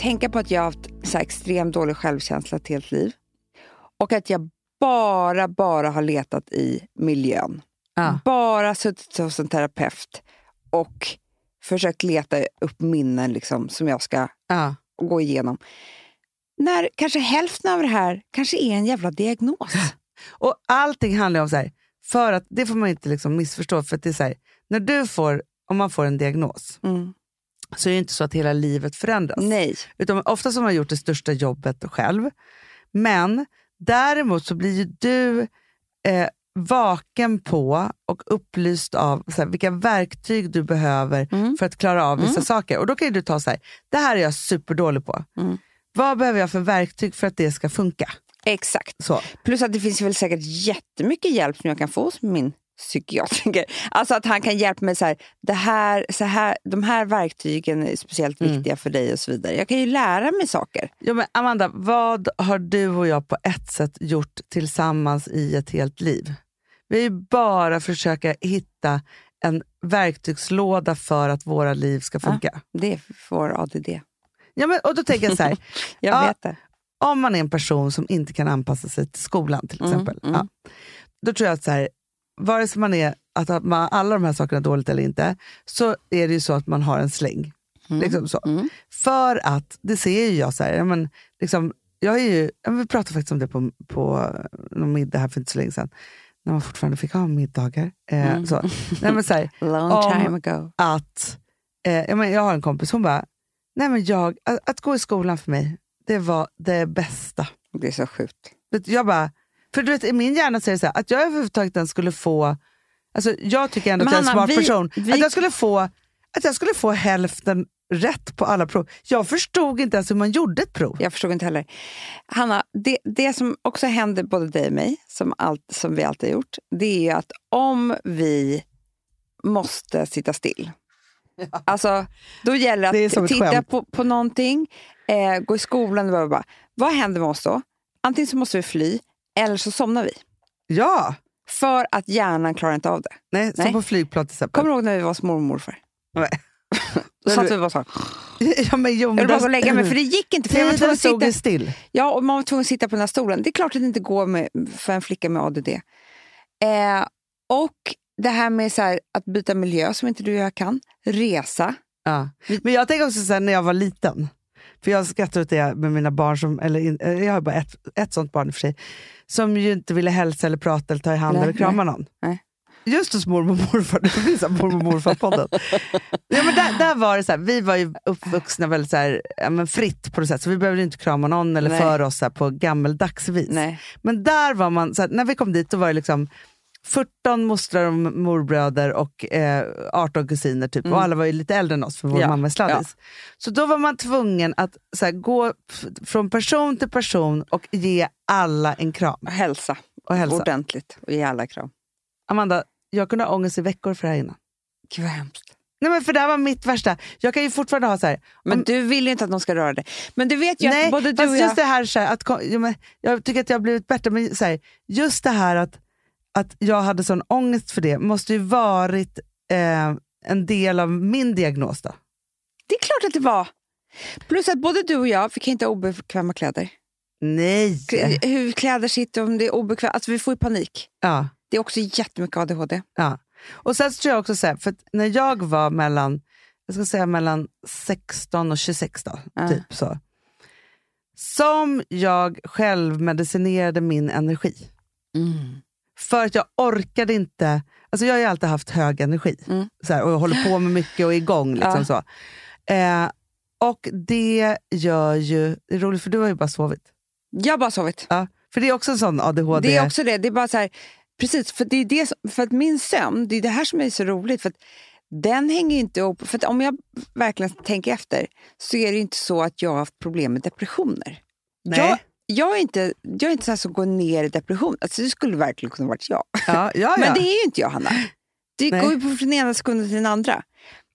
[SPEAKER 5] tänka på att jag har haft så här extremt dålig självkänsla ett helt liv. Och att jag bara, bara har letat i miljön.
[SPEAKER 6] Ja.
[SPEAKER 5] Bara suttit hos en terapeut och försökt leta upp minnen liksom, som jag ska
[SPEAKER 2] Ja.
[SPEAKER 5] gå igenom. När kanske hälften av det här kanske är en jävla diagnos.
[SPEAKER 2] Och allting handlar om så här, för att det får man inte liksom missförstå, för att det är så här, när du får, om man får en diagnos,
[SPEAKER 5] Mm.
[SPEAKER 2] så är det inte så att hela livet förändras.
[SPEAKER 5] Nej.
[SPEAKER 2] Utan ofta har man gjort det största jobbet själv. Men däremot så blir ju du eh, vaken på och upplyst av så här, vilka verktyg du behöver för att klara av vissa saker. Och då kan ju du ta så här, det här är jag superdålig på. Vad behöver jag för verktyg för att det ska funka?
[SPEAKER 5] Exakt.
[SPEAKER 2] Så.
[SPEAKER 5] Plus att det finns väl säkert jättemycket hjälp som jag kan få hos min
[SPEAKER 4] psykiatriker. Alltså att han kan hjälpa mig så här, det här, så här, de här verktygen är speciellt
[SPEAKER 2] Mm.
[SPEAKER 4] viktiga för dig och så vidare. Jag kan ju lära mig saker.
[SPEAKER 2] Jo, men Amanda, vad har du och jag på ett sätt gjort tillsammans i ett helt liv? Vi har ju bara försöka hitta en verktygslåda för att våra liv ska funka. Ja.
[SPEAKER 4] Det är för ADD.
[SPEAKER 2] men, och då tänker jag så här,
[SPEAKER 4] Jag
[SPEAKER 2] Ja.
[SPEAKER 4] vet det.
[SPEAKER 2] om man är en person som inte kan anpassa sig till skolan till
[SPEAKER 4] Mm,
[SPEAKER 2] exempel.
[SPEAKER 4] mm.
[SPEAKER 2] Ja, då tror jag att så här, vare sig man är att ha- man, alla de här sakerna dåligt eller inte, så är det ju så att man har en släng. Liksom så.
[SPEAKER 4] mm.
[SPEAKER 2] För att, det ser ju jag så här, ja, men, liksom, jag är ju, ja, men vi pratade faktiskt om det på, på eh, någon middag här för inte så länge sedan, när man fortfarande fick ha middagar. Eh,
[SPEAKER 4] Mm.
[SPEAKER 2] så. Nej, men, så här,
[SPEAKER 4] Long
[SPEAKER 2] Om-
[SPEAKER 4] time ago.
[SPEAKER 2] att, eh, jag, men, jag har en kompis, hon bara, Nej, men jag, att, att gå i skolan för mig, det var det bästa.
[SPEAKER 4] Det är så sjukt.
[SPEAKER 2] Vet du, Jag bara, för du vet, i min hjärna så är det så här, att jag överhuvudtaget ens skulle få, alltså jag tycker ändå
[SPEAKER 4] Men
[SPEAKER 2] att jag är en
[SPEAKER 4] Hanna,
[SPEAKER 2] smart
[SPEAKER 4] vi-
[SPEAKER 2] person,
[SPEAKER 4] vi-
[SPEAKER 2] att, jag skulle få, att jag skulle få hälften rätt på alla prov. Jag förstod inte ens hur man gjorde ett prov.
[SPEAKER 4] Jag förstod inte heller. Hanna, det, det som också händer både dig och mig, som, allt, som vi alltid har gjort, det är ju att om vi måste sitta still, alltså, då gäller
[SPEAKER 2] Det är
[SPEAKER 4] det
[SPEAKER 2] som
[SPEAKER 4] att
[SPEAKER 2] ett
[SPEAKER 4] titta
[SPEAKER 2] skämt.
[SPEAKER 4] på, på någonting, eh, gå i skolan och bara, bara, vad händer med oss då? Antingen så måste vi fly, eller så somnar vi.
[SPEAKER 2] Ja!
[SPEAKER 4] För att hjärnan klarar inte av det.
[SPEAKER 2] Nej, som
[SPEAKER 4] Nej.
[SPEAKER 2] på flygplan till exempel.
[SPEAKER 4] Kommer du ihåg när vi var små och morfar?
[SPEAKER 2] Nej.
[SPEAKER 4] Då satt vi bara så här.
[SPEAKER 2] Ja, men, jo,
[SPEAKER 4] Jag vill
[SPEAKER 2] men
[SPEAKER 4] bara
[SPEAKER 2] där-
[SPEAKER 4] gå och lägga mig, för det gick inte. För jag var tvungen
[SPEAKER 2] Tiden
[SPEAKER 4] att
[SPEAKER 2] stod
[SPEAKER 4] sitta.
[SPEAKER 2] ju still.
[SPEAKER 4] Ja, och man var tvungen att sitta på den här stolen. Det är klart att det inte går med, för en flicka med ADD. Eh, och det här med så här, att byta miljö, som inte du och jag kan. Resa.
[SPEAKER 2] Ja.
[SPEAKER 4] Mm.
[SPEAKER 2] Men jag tänker också så här, när jag var liten, för jag skrattar åt det med mina barn, som, eller in, eh, jag har bara ett, ett sånt barn i och för sig, som ju inte ville hälsa eller prata eller ta i hand
[SPEAKER 4] Nej,
[SPEAKER 2] eller krama någon.
[SPEAKER 4] nej.
[SPEAKER 2] Just hos mormor och morfar, det blir så här mormor och morfar-podden. ja, men där, där var det så här, vi var ju uppvuxna väldigt så här, ja, men fritt på något sätt, så vi behövde inte krama någon eller
[SPEAKER 4] Nej.
[SPEAKER 2] föra oss så här, på gammeldags vis.
[SPEAKER 4] Nej.
[SPEAKER 2] Men där var man, så här, när vi kom dit, då var det liksom 14 mostrar och morbröder och eh, 18 kusiner. Typ. Och alla var ju lite äldre än oss, för vår
[SPEAKER 4] Mm. Ja,
[SPEAKER 2] mamma är sladdis. Så då var man tvungen att så här, gå f- från person till person och ge alla en kram
[SPEAKER 4] Och hälsa.
[SPEAKER 2] och hälsa.
[SPEAKER 4] Ordentligt. Och ge alla kram.
[SPEAKER 2] Amanda, jag kunde ha ångest i veckor för det här innan.
[SPEAKER 4] Gud vad hemskt.
[SPEAKER 2] Nej, men för det här var mitt värsta. Jag kan ju fortfarande ha så här...
[SPEAKER 4] Men du vill ju inte att de ska röra dig. Men du vet ju
[SPEAKER 2] Nej,
[SPEAKER 4] att både du
[SPEAKER 2] fast
[SPEAKER 4] och
[SPEAKER 2] just
[SPEAKER 4] jag...
[SPEAKER 2] det här, så här att, kom- ja, men jag tycker att jag har blivit bättre, men så här, just det här att, att jag hade sån ångest för det måste ju varit eh, en del av min diagnos. Då.
[SPEAKER 4] Det är klart att det var. Plus att både du och jag, vi kan inte ha obekväma kläder.
[SPEAKER 2] Nej!
[SPEAKER 4] K- Hur kläder sitter, om det är obekvämt. Alltså vi får ju panik.
[SPEAKER 2] Ja,
[SPEAKER 4] Det är också jättemycket ADHD.
[SPEAKER 2] ja. Och sen så tror jag också så här, för att när jag var mellan, jag ska säga mellan 16 och 26 då,
[SPEAKER 4] Ja.
[SPEAKER 2] typ så. Som jag själv medicinerade min energi.
[SPEAKER 4] Mm.
[SPEAKER 2] För att jag orkade inte. Alltså jag har ju alltid haft hög energi
[SPEAKER 4] Mm.
[SPEAKER 2] så här, och jag håller på med mycket och är igång. Liksom
[SPEAKER 4] Ja.
[SPEAKER 2] så. Eh, och det gör ju... Det är roligt för du har ju bara sovit.
[SPEAKER 4] Jag har bara sovit.
[SPEAKER 2] Ja. För det är också en sån ADHD.
[SPEAKER 4] Det är också det. Det är bara så här, precis, för, det är det, som- för att min sömn, det är det här som är så roligt. För att den hänger ju inte ihop. För att om jag verkligen tänker efter så är det ju inte så att jag har haft problem med depressioner.
[SPEAKER 2] Nej.
[SPEAKER 4] Jag, jag är inte, jag är inte så här som går ner i depression. Alltså, det skulle verkligen kunna varit jag.
[SPEAKER 2] ja, ja, Ah, ja.
[SPEAKER 4] Men det är ju inte jag, Hanna. Det
[SPEAKER 2] Nej.
[SPEAKER 4] går ju på från ena sekunden till den andra.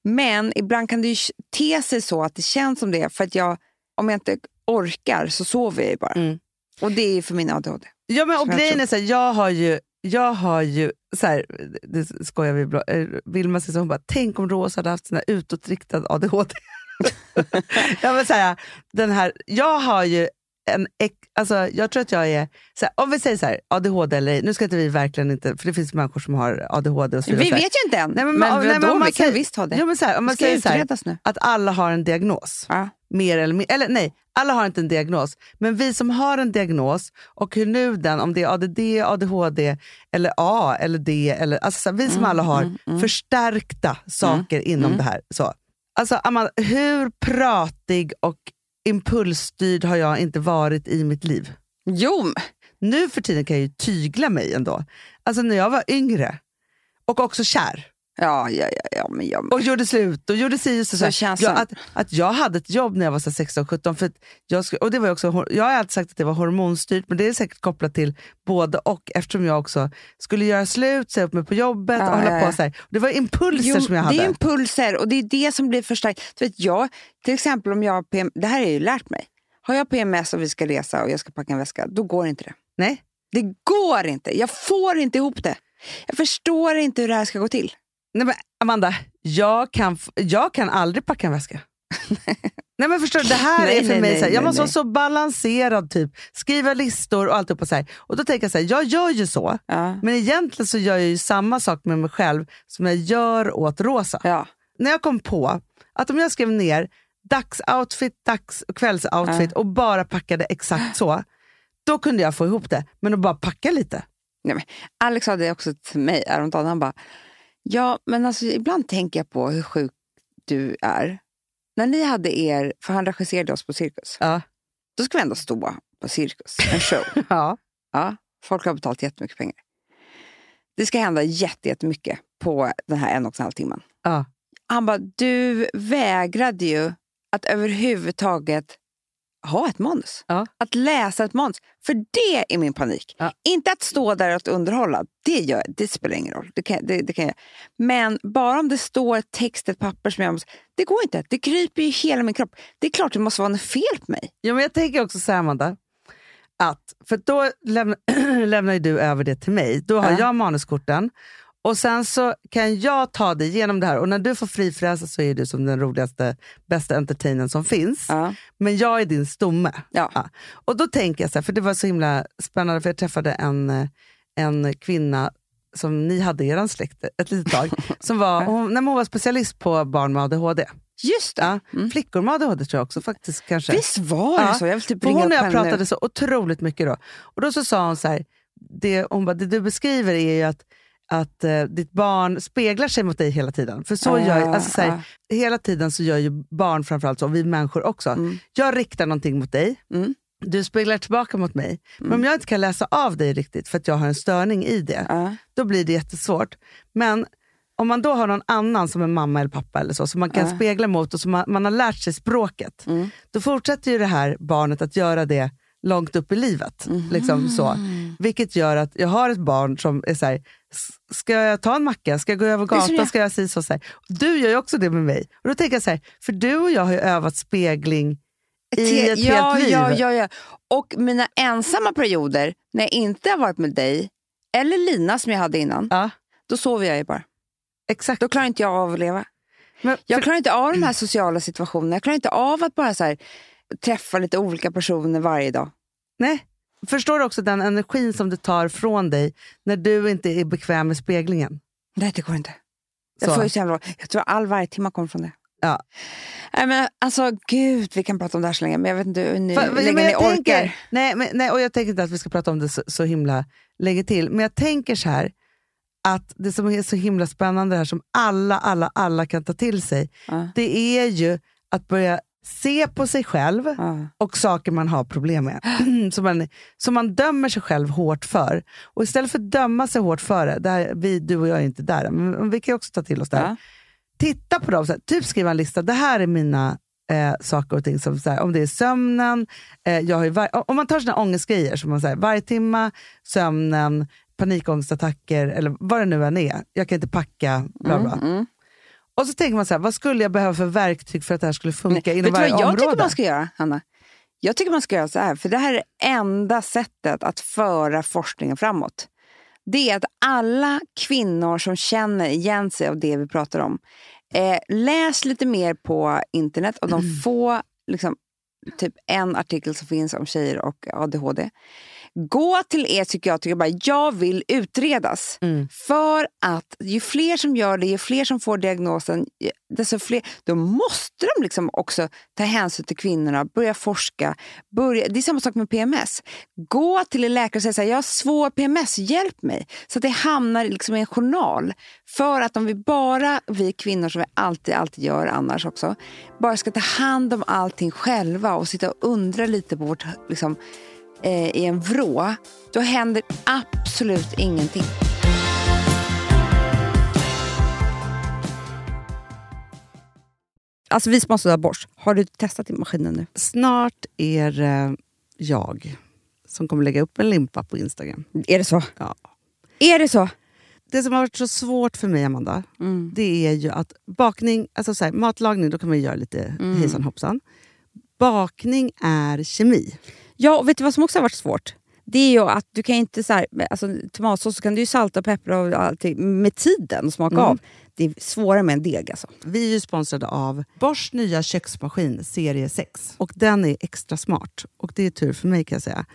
[SPEAKER 4] Men ibland kan det ju te sig så att det känns som det. är, För att jag, om jag inte orkar så sover jag ju bara.
[SPEAKER 2] Mm.
[SPEAKER 4] Och det är ju för min ADHD.
[SPEAKER 2] Ja, men och
[SPEAKER 4] Som jag
[SPEAKER 2] grejen
[SPEAKER 4] tror.
[SPEAKER 2] är så här, jag har ju, jag har ju så här, det skojar vi ibland, eh, Vilma säger så, hon bara, tänk om Rosa hade haft sina utåtriktad ADHD. ja, men så här, den här, jag har ju en, ex- alltså, jag tror att jag är, så här, om vi säger så här, ADHD eller ej, nu ska inte vi verkligen inte, för det finns människor som har ADHD och så
[SPEAKER 4] Vi
[SPEAKER 2] vidare.
[SPEAKER 4] vet ju inte än.
[SPEAKER 2] Nej, men
[SPEAKER 4] men
[SPEAKER 2] man- nej, men
[SPEAKER 4] vadå,
[SPEAKER 2] om man
[SPEAKER 4] vi kan
[SPEAKER 2] säger-
[SPEAKER 4] visst ha det.
[SPEAKER 2] Ja, men så här, om
[SPEAKER 4] det
[SPEAKER 2] man
[SPEAKER 4] ska
[SPEAKER 2] säger så här,
[SPEAKER 4] utredas nu.
[SPEAKER 2] att alla har en diagnos
[SPEAKER 4] Ja.
[SPEAKER 2] mer eller mindre, eller nej, alla har inte en diagnos, men vi som har en diagnos och hur nu den, om det är ADD, ADHD eller A eller D, eller, alltså så här, vi som alla har förstärkta saker inom det här. Så. Alltså Amanda, hur pratig och impulsstyrd har jag inte varit i mitt liv?
[SPEAKER 4] Jo, men-
[SPEAKER 2] Nu för tiden kan jag ju tygla mig ändå. Alltså när jag var yngre, och också kär.
[SPEAKER 4] Ja, ja, ja, ja, men jag
[SPEAKER 2] Och gjorde slut och gjorde si och så.
[SPEAKER 4] Så
[SPEAKER 2] så
[SPEAKER 4] känns
[SPEAKER 2] jag,
[SPEAKER 4] det.
[SPEAKER 2] att, att jag hade ett jobb när jag var 16-17. För att jag, skulle, och det var ju också, hor- jag har alltid sagt att det var hormonstyrt, men det är säkert kopplat till både och. Eftersom jag också skulle göra slut, säga upp mig på jobbet
[SPEAKER 4] Ja,
[SPEAKER 2] och hålla
[SPEAKER 4] ja,
[SPEAKER 2] på
[SPEAKER 4] ja.
[SPEAKER 2] så här. Det var impulser
[SPEAKER 4] Jo,
[SPEAKER 2] som jag hade.
[SPEAKER 4] Det är impulser och det är det som blir förstärkt. Du vet, jag, till exempel om jag har PM, det här har jag ju lärt mig. Har jag PMS och vi ska resa och jag ska packa en väska, då går inte det.
[SPEAKER 2] Nej.
[SPEAKER 4] Det går inte. Jag får inte ihop det. Jag förstår inte hur det här ska gå till.
[SPEAKER 2] Nej, men Amanda, jag kan, f- jag kan aldrig packa en väska. nej men förstår du, det här
[SPEAKER 4] Nej,
[SPEAKER 2] är för
[SPEAKER 4] nej,
[SPEAKER 2] mig
[SPEAKER 4] nej,
[SPEAKER 2] så här, jag
[SPEAKER 4] nej,
[SPEAKER 2] måste
[SPEAKER 4] nej.
[SPEAKER 2] vara så balanserad typ. Skriva listor och alltihopa så här. Och då tänker jag så här, jag gör ju så.
[SPEAKER 4] Ja.
[SPEAKER 2] Men egentligen så gör jag ju samma sak med mig själv som jag gör åt Rosa.
[SPEAKER 4] Ja.
[SPEAKER 2] När jag kom på att om jag skrev ner dagsoutfit, dags och kvällsoutfit och bara packade exakt så, då kunde jag få ihop det. Men att bara packa lite.
[SPEAKER 4] Nej, men Alex sa det också till mig häromdagen. Han bara, ja men alltså ibland tänker jag på hur sjuk du är. När ni hade er, för han regisserade oss på Cirkus.
[SPEAKER 2] Ja.
[SPEAKER 4] Då ska vi ändå stå på Cirkus, en show.
[SPEAKER 2] Ja.
[SPEAKER 4] Ja, folk har betalat jättemycket pengar. Det ska hända jätte- jättemycket på den här en och en halv timmen.
[SPEAKER 2] Ja.
[SPEAKER 4] Han bara, du vägrade ju att överhuvudtaget ha ett manus.
[SPEAKER 2] Ja.
[SPEAKER 4] Att läsa ett manus. För det är min panik.
[SPEAKER 2] Ja.
[SPEAKER 4] Inte att stå där och att underhålla. Det, gör, det spelar ingen roll. Det kan, det, det kan jag. Men bara om det står text, ett papper som jag måste... Det går inte. Det kryper ju i hela min kropp. Det är klart det måste vara något fel på mig.
[SPEAKER 2] Ja, men jag tänker också så här, Amanda. Att, för då lämna, lämnar ju du över det till mig. Då har
[SPEAKER 4] Ja.
[SPEAKER 2] jag manuskorten. Och sen så kan jag ta dig igenom det här. Och när du får frifräsa så är du som den roligaste, bästa entertainern som finns.
[SPEAKER 4] Ja.
[SPEAKER 2] Men jag är din stomme.
[SPEAKER 4] Ja.
[SPEAKER 2] Och då tänker jag så här, för det var så himla spännande, för jag träffade en, eh, en kvinna som ni hade i er släkt ett litet tag. som var, hon, nej, men hon var specialist på barn med ADHD.
[SPEAKER 4] Just det. Mm.
[SPEAKER 2] Ja, Flickor med ADHD tror jag också faktiskt. kanske.
[SPEAKER 4] Visst var det
[SPEAKER 2] Ja.
[SPEAKER 4] så? Jag vill typ
[SPEAKER 2] För
[SPEAKER 4] ringa
[SPEAKER 2] hon
[SPEAKER 4] upp
[SPEAKER 2] och jag
[SPEAKER 4] henne nu.
[SPEAKER 2] pratade så otroligt mycket då. Och då så sa hon så här, det, hon bara, det du beskriver är ju att, att eh, ditt barn speglar sig mot dig hela tiden. För så
[SPEAKER 4] Ah,
[SPEAKER 2] gör, alltså så här,
[SPEAKER 4] ah.
[SPEAKER 2] hela tiden så gör ju barn framförallt så, och vi människor också. Jag riktar någonting mot dig,
[SPEAKER 4] Mm.
[SPEAKER 2] du speglar tillbaka mot mig. Men om jag inte kan läsa av dig riktigt för att jag har en störning i det,
[SPEAKER 4] Ja.
[SPEAKER 2] då blir det jättesvårt. Men om man då har någon annan som en mamma eller pappa eller så, som man kan spegla mot och som man, man har lärt sig språket,
[SPEAKER 4] Mm.
[SPEAKER 2] då fortsätter ju det här barnet att göra det långt upp i livet.
[SPEAKER 4] Mhm.
[SPEAKER 2] Liksom så. Vilket gör att jag har ett barn som är så här, "S- ska jag ta en macka? Ska jag gå över
[SPEAKER 4] är som
[SPEAKER 2] gatan?
[SPEAKER 4] jag.
[SPEAKER 2] Ska jag säga så? så här. Du gör ju också det med mig. Och då tänker jag så här, för du och jag har ju övat spegling i
[SPEAKER 4] Te-
[SPEAKER 2] ett
[SPEAKER 4] ja,
[SPEAKER 2] helt liv.
[SPEAKER 4] Ja, ja, ja. Och mina ensamma perioder, när jag inte har varit med dig, eller Lina som jag hade innan,
[SPEAKER 2] Ja,
[SPEAKER 4] då sover jag ju bara.
[SPEAKER 2] exakt.
[SPEAKER 4] Då klarar inte jag av att leva.
[SPEAKER 2] Men,
[SPEAKER 4] Jag klarar inte av de här sociala situationerna. Jag klarar inte av att bara så här, träffa lite olika personer varje dag.
[SPEAKER 2] Nej. Förstår du också den energin som det tar från dig när du inte är bekväm med speglingen?
[SPEAKER 4] Nej, det går inte. Jag
[SPEAKER 2] Så.
[SPEAKER 4] får ju så jävla... Jag tror all varje timme kommer från det.
[SPEAKER 2] Ja.
[SPEAKER 4] Nej, men alltså gud, vi kan prata om det här så länge, men jag vet inte hur, ni,
[SPEAKER 2] Fa-
[SPEAKER 4] hur länge
[SPEAKER 2] men
[SPEAKER 4] ni
[SPEAKER 2] jag
[SPEAKER 4] orkar.
[SPEAKER 2] tänker, nej, men, nej, och jag tänker inte att vi ska prata om det så, så himla länge till, men jag tänker så här att det som är så himla spännande här som alla, alla, alla kan ta till sig,
[SPEAKER 4] Ja.
[SPEAKER 2] det är ju att börja se på sig själv
[SPEAKER 4] Ja.
[SPEAKER 2] och saker man har problem med. som, man, som man dömer sig själv hårt för. Och istället för att döma sig hårt för det, det här, vi, du och jag är inte där, men vi kan ju också ta till oss det här.
[SPEAKER 4] Ja.
[SPEAKER 2] Titta på dem, så här, typ skriva en lista, det här är mina eh, saker och ting. Som, så här, om det är sömnen, eh, jag har ju var- om man tar sina ångestgrejer, som man säger, varje timma, sömnen, panikångestattacker eller vad det nu än är. Jag kan inte packa, bla
[SPEAKER 4] Mm,
[SPEAKER 2] bla. Och så tänker man så här, vad skulle jag behöva för verktyg för att det här skulle funka
[SPEAKER 4] Nej,
[SPEAKER 2] inom
[SPEAKER 4] vet du
[SPEAKER 2] varje
[SPEAKER 4] vad jag
[SPEAKER 2] område?
[SPEAKER 4] tycker man ska göra, Hanna? Jag tycker man ska göra så här, för det här är det enda sättet att föra forskningen framåt. Det är att alla kvinnor som känner igen sig av det vi pratar om, eh, läs lite mer på internet och de
[SPEAKER 2] Mm.
[SPEAKER 4] få, liksom, typ en artikel som finns om tjejer och ADHD. Gå till er psykiater och bara, jag vill utredas. För att ju fler som gör det, ju fler som får diagnosen, ju- desto fler, då måste de liksom också ta hänsyn till kvinnorna, börja forska. Börja, det är samma sak med PMS. Gå till en läkare och säga så här, jag har svår PMS, hjälp mig. Så att det hamnar liksom i en journal. För att om vi bara, vi kvinnor som vi alltid, alltid gör annars också, bara ska ta hand om allting själva och sitta och undra lite på vårt, liksom, eh, i en vrå, då händer absolut ingenting. Alltså vi som har sådär borst, har du testat i maskinen nu?
[SPEAKER 2] Snart är det jag som kommer lägga upp en limpa på Instagram.
[SPEAKER 4] Är det så?
[SPEAKER 2] Ja.
[SPEAKER 4] Är det så?
[SPEAKER 2] Det som har varit så svårt för mig, Amanda,
[SPEAKER 4] Mm.
[SPEAKER 2] det är ju att bakning, alltså så här, matlagning, då kan man ju göra lite
[SPEAKER 4] Mm.
[SPEAKER 2] hejsan hoppsan. Bakning är kemi.
[SPEAKER 4] Ja, och vet du vad som också har varit svårt? Det är ju att du kan inte så här, med- alltså, tomatsås så kan du ju salta och peppra och allting med tiden och smaka av. Det är svårare med en deg alltså.
[SPEAKER 2] Vi är ju sponsrade av Bors nya köksmaskin serie 6. Och den är extra smart. Och det är tur för mig kan jag säga.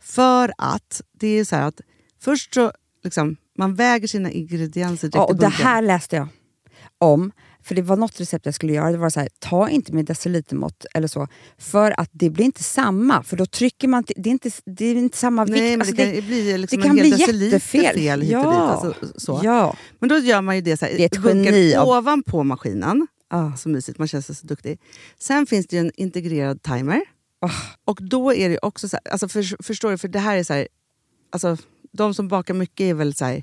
[SPEAKER 2] För att det är så här att först så liksom, man väger sina ingredienser direkt
[SPEAKER 4] Ja,
[SPEAKER 2] i
[SPEAKER 4] och det
[SPEAKER 2] bunken.
[SPEAKER 4] här läste jag om. För det var något recept jag skulle göra. Det var så här, ta inte med decilitermått eller så. För att det blir inte samma. För då trycker man... till- Det är inte, det är inte samma vikt.
[SPEAKER 2] Nej, men
[SPEAKER 4] Alltså,
[SPEAKER 2] det kan ju bli liksom
[SPEAKER 4] det kan
[SPEAKER 2] en
[SPEAKER 4] bli
[SPEAKER 2] hel deciliter
[SPEAKER 4] jättefel.
[SPEAKER 2] fel hit och
[SPEAKER 4] Ja.
[SPEAKER 2] dit. Alltså, så.
[SPEAKER 4] Ja.
[SPEAKER 2] Men då gör man ju det så här,
[SPEAKER 4] Det är ett
[SPEAKER 2] i bunken
[SPEAKER 4] geni av-
[SPEAKER 2] ovanpå maskinen.
[SPEAKER 4] Ah.
[SPEAKER 2] Så mysigt, man känns så, så duktig. Sen finns det ju en integrerad timer.
[SPEAKER 4] Ah.
[SPEAKER 2] Och då är det ju också så här, alltså för, förstår du, för det här är så här, alltså de som bakar mycket är väl så här,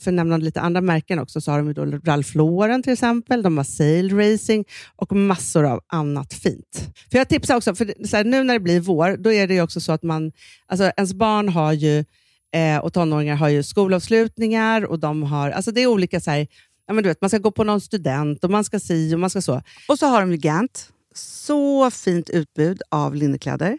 [SPEAKER 2] för att nämna lite andra märken också, så har de ju då Ralph Lauren till exempel, de har Sail Racing och massor av annat fint. För Jag tipsar också, för det- så här, nu när det blir vår, då är det ju också så att man, alltså ens barn har ju, eh, och tonåringar har ju skolavslutningar och de har, alltså det är olika så här, ja, men du vet, man ska gå på någon student och man ska si och man ska så. Och så har de ju Gant, så fint utbud av linnekläder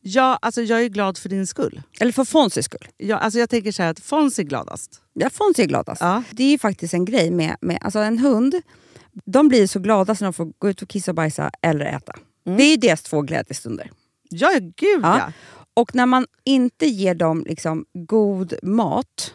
[SPEAKER 2] Ja, alltså jag är glad för din skull.
[SPEAKER 4] Eller för Fonzys skull.
[SPEAKER 2] Jag, alltså jag tänker så här att Fons är gladast.
[SPEAKER 4] Ja, Fons är gladast.
[SPEAKER 2] Ja.
[SPEAKER 4] Det är ju faktiskt en grej med, med alltså en hund. De blir så glada när de får gå ut och kissa och bajsa eller äta.
[SPEAKER 2] Mm.
[SPEAKER 4] Det är ju deras två glädjestunder.
[SPEAKER 2] Ja, gud
[SPEAKER 4] Ja.
[SPEAKER 2] ja.
[SPEAKER 4] Och när man inte ger dem liksom god mat,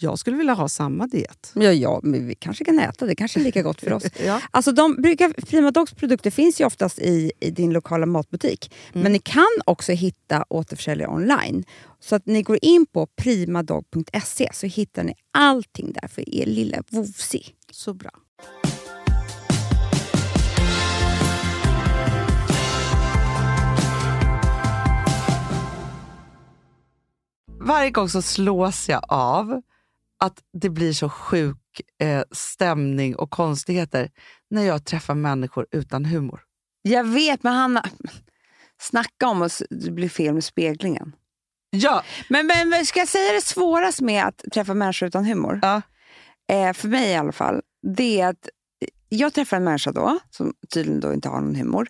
[SPEAKER 2] Jag skulle vilja ha samma diet.
[SPEAKER 7] ja, ja, men vi kanske kan äta. Det kanske är lika gott för oss.
[SPEAKER 2] Ja.
[SPEAKER 7] Alltså de brukar, Prima Dogs produkter finns ju oftast i, i din lokala matbutik. Men ni kan också hitta återförsäljare online. Så att ni går in på primadog.se så hittar ni allting där för er lilla vovsi.
[SPEAKER 2] Så bra. Varje gång så slås jag av att det blir så sjuk eh, stämning och konstigheter när jag träffar människor utan humor.
[SPEAKER 4] Jag vet, men Hanna... Snacka om att det blir fel med speglingen.
[SPEAKER 2] Ja,
[SPEAKER 4] Men, men, men ska jag säga det svårast med att träffa människor utan humor?
[SPEAKER 2] Ja.
[SPEAKER 4] Eh, för mig i alla fall. Det är att eh, jag träffar en människa då, som tydligen då inte har någon humor.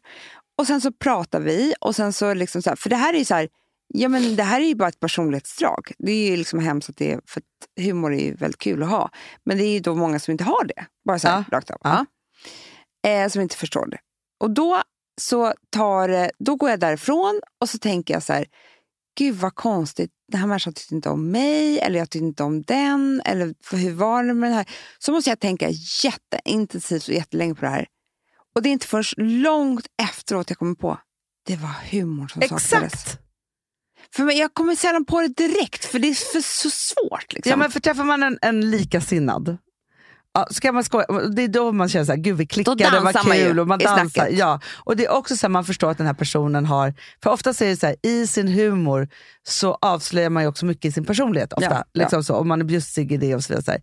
[SPEAKER 4] Och sen så pratar vi. Och sen så liksom så här, för det här är ju så här, ja, men det här är ju bara ett personlighetsdrag. Det är ju liksom hemskt att det är, för att humor är ju väldigt kul att ha. Men det är ju då många som inte har det. Bara så här, rakt av.
[SPEAKER 2] Ja.
[SPEAKER 4] Eh, som inte förstår det. Och då, så tar, det- då går jag därifrån och så tänker jag så här, gud vad konstigt, den här människan tyckte inte om mig, eller jag tyckte inte om den, eller för hur var det med den här? Så måste jag tänka jätteintensivt och jättelänge på det här. Och det är inte först långt efteråt jag kommer på, det var humor som saknades.
[SPEAKER 2] exakt.
[SPEAKER 4] För mig, jag kommer sällan på det direkt, för det är för, så svårt. Liksom.
[SPEAKER 2] Ja, men för träffar man en, en likasinnad, ja, så kan man skoja. det är då man känner så här, gud vi klickade, det var
[SPEAKER 4] dansar man ju
[SPEAKER 2] kul. Och man
[SPEAKER 4] i
[SPEAKER 2] dansar,
[SPEAKER 4] snacket.
[SPEAKER 2] ja. och det är också så här, man förstår att den här personen har, för ofta är det så här, i sin humor så avslöjar man ju också mycket i sin personlighet. Ofta,
[SPEAKER 4] Ja, ja.
[SPEAKER 2] liksom så, om man är bjussig i det och så vidare. Så här.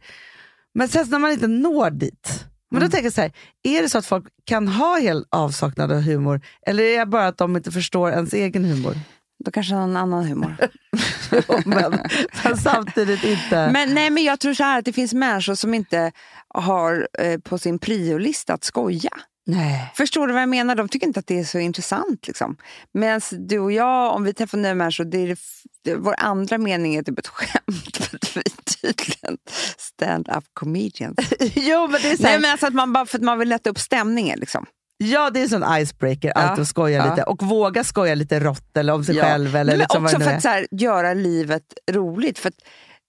[SPEAKER 2] Men sen så när man inte når dit, men
[SPEAKER 4] Mm.
[SPEAKER 2] då tänker jag så här, är det så att folk kan ha hel avsaknad av humor eller är det bara att de inte förstår ens egen humor?
[SPEAKER 4] Då kanske han har en annan humor.
[SPEAKER 2] men, men samtidigt inte.
[SPEAKER 4] Men, nej, men jag tror så här att det finns människor som inte har eh, på sin priolista att skoja.
[SPEAKER 2] nej.
[SPEAKER 4] Förstår du vad jag menar? De tycker inte att det är så intressant. Liksom. Medan du och jag, om vi träffar nya människor, det är det, f- det, vår andra mening är typ ett skämt. För att vi är tydligen stand-up comedians.
[SPEAKER 2] jo, men det är så här,
[SPEAKER 4] nej, men alltså att man bara för att man vill lätta upp stämningen. Liksom.
[SPEAKER 2] Ja, det är en sån icebreaker,
[SPEAKER 4] Ja,
[SPEAKER 2] alltid att skoja
[SPEAKER 4] ja.
[SPEAKER 2] lite. Och våga skoja lite rått eller om sig själv. Eller
[SPEAKER 4] men
[SPEAKER 2] liksom vad
[SPEAKER 4] också
[SPEAKER 2] det
[SPEAKER 4] för
[SPEAKER 2] nu
[SPEAKER 4] att så här, göra livet roligt. För att,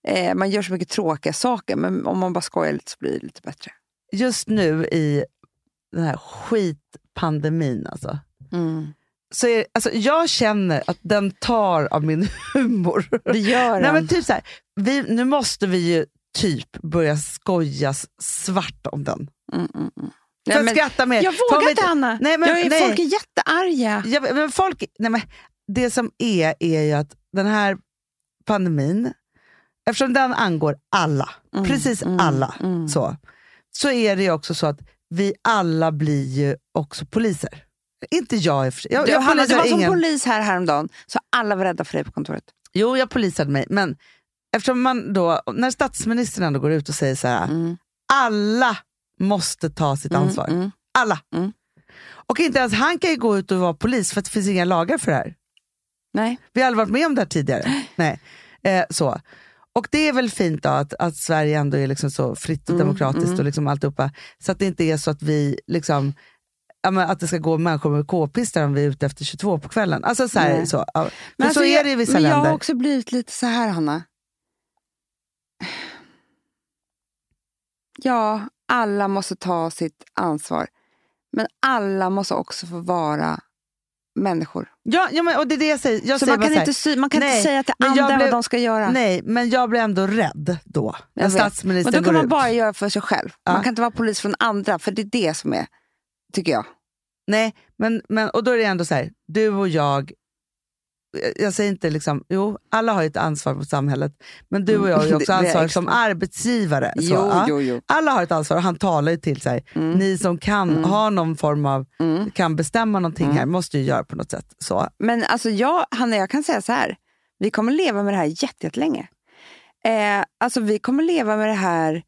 [SPEAKER 4] eh, man gör så mycket tråkiga saker, men om man bara skojar lite så blir det lite bättre.
[SPEAKER 2] är. Just nu i den här skitpandemin, alltså, så är, alltså, jag känner att den tar av min humor.
[SPEAKER 4] Det gör
[SPEAKER 2] Nej,
[SPEAKER 4] en.
[SPEAKER 2] men typ så här, vi, nu måste vi ju typ börja skoja s- svart om den.
[SPEAKER 4] Mm, mm, mm.
[SPEAKER 2] För
[SPEAKER 4] Nej,
[SPEAKER 2] att
[SPEAKER 4] men-
[SPEAKER 2] skratta mer.
[SPEAKER 4] Jag
[SPEAKER 2] För om
[SPEAKER 4] vågar
[SPEAKER 2] vi-
[SPEAKER 4] inte, Anna.
[SPEAKER 2] Nej, men,
[SPEAKER 4] jag är,
[SPEAKER 2] nej.
[SPEAKER 4] Folk är jättearga.
[SPEAKER 2] Ja, men- men folk, nej men, det som är, är ju att den här pandemin, eftersom den angår alla,
[SPEAKER 4] Mm,
[SPEAKER 2] precis alla, Så, så är det ju också så att vi alla blir ju också poliser. Inte jag i och för sig. jag,
[SPEAKER 4] Du,
[SPEAKER 2] jag
[SPEAKER 4] Hanna, det
[SPEAKER 2] polisar
[SPEAKER 4] var
[SPEAKER 2] ingen.
[SPEAKER 4] som polis här häromdagen, så alla var rädda för dig på kontoret.
[SPEAKER 2] Jo, jag polisade mig, men eftersom man då, när statsministern ändå går ut och säger så här, alla måste ta sitt ansvar. Alla.
[SPEAKER 4] Mm. Mm.
[SPEAKER 2] Och inte ens han kan ju gå ut och vara polis för att det finns inga lagar för det här.
[SPEAKER 4] Nej.
[SPEAKER 2] Vi har aldrig varit med om det här tidigare. Nej. Eh, så. Och det är väl fint då att, att Sverige ändå är liksom så fritt och
[SPEAKER 4] Mm,
[SPEAKER 2] demokratiskt och liksom alltihopa. Så att det inte är så att vi liksom, ja, men att det ska gå människor med k-pistar om vi är ute efter 22 på kvällen. Alltså så, här,
[SPEAKER 4] Nej.
[SPEAKER 2] så. Ja. Men
[SPEAKER 4] alltså,
[SPEAKER 2] så är
[SPEAKER 4] jag-
[SPEAKER 2] det i vissa
[SPEAKER 4] men
[SPEAKER 2] länder.
[SPEAKER 4] Jag har också blivit lite så här, Hanna. Ja, alla måste ta sitt ansvar. Men alla måste också få vara människor.
[SPEAKER 2] Ja, ja men, och det är det jag säger. Jag
[SPEAKER 4] så
[SPEAKER 2] säger
[SPEAKER 4] man kan,
[SPEAKER 2] bara
[SPEAKER 4] inte,
[SPEAKER 2] så
[SPEAKER 4] sy- man kan
[SPEAKER 2] nej,
[SPEAKER 4] inte säga till
[SPEAKER 2] men jag
[SPEAKER 4] andra
[SPEAKER 2] blev-
[SPEAKER 4] vad de ska göra.
[SPEAKER 2] här, Nej, men jag blir ändå rädd då.
[SPEAKER 4] Jag
[SPEAKER 2] När
[SPEAKER 4] vet. Men
[SPEAKER 2] statsministern
[SPEAKER 4] då kan
[SPEAKER 2] går
[SPEAKER 4] man
[SPEAKER 2] ut.
[SPEAKER 4] bara göra för sig själv.
[SPEAKER 2] Ja.
[SPEAKER 4] Man kan inte vara polis för en andra, för det är det som är, tycker jag.
[SPEAKER 2] Nej, men, men, och då är det ändå så här, du och jag, jag- jag säger inte liksom, jo alla har ju ett ansvar mot samhället, men du och jag har ju
[SPEAKER 4] Mm. Det-
[SPEAKER 2] också
[SPEAKER 4] det är
[SPEAKER 2] ansvar
[SPEAKER 4] extra.
[SPEAKER 2] som arbetsgivare. Så, ja.
[SPEAKER 4] jo, Mm. jo.
[SPEAKER 2] Alla har ett ansvar och han talar ju till så här, ni som kan ha någon form av,
[SPEAKER 4] Mm.
[SPEAKER 2] kan bestämma någonting här, måste ju göra på något sätt. Så.
[SPEAKER 4] Men alltså jag, Hanna, jag kan säga så här. Vi kommer leva med det här jätte- jättelänge. Eh, alltså vi kommer leva med det här,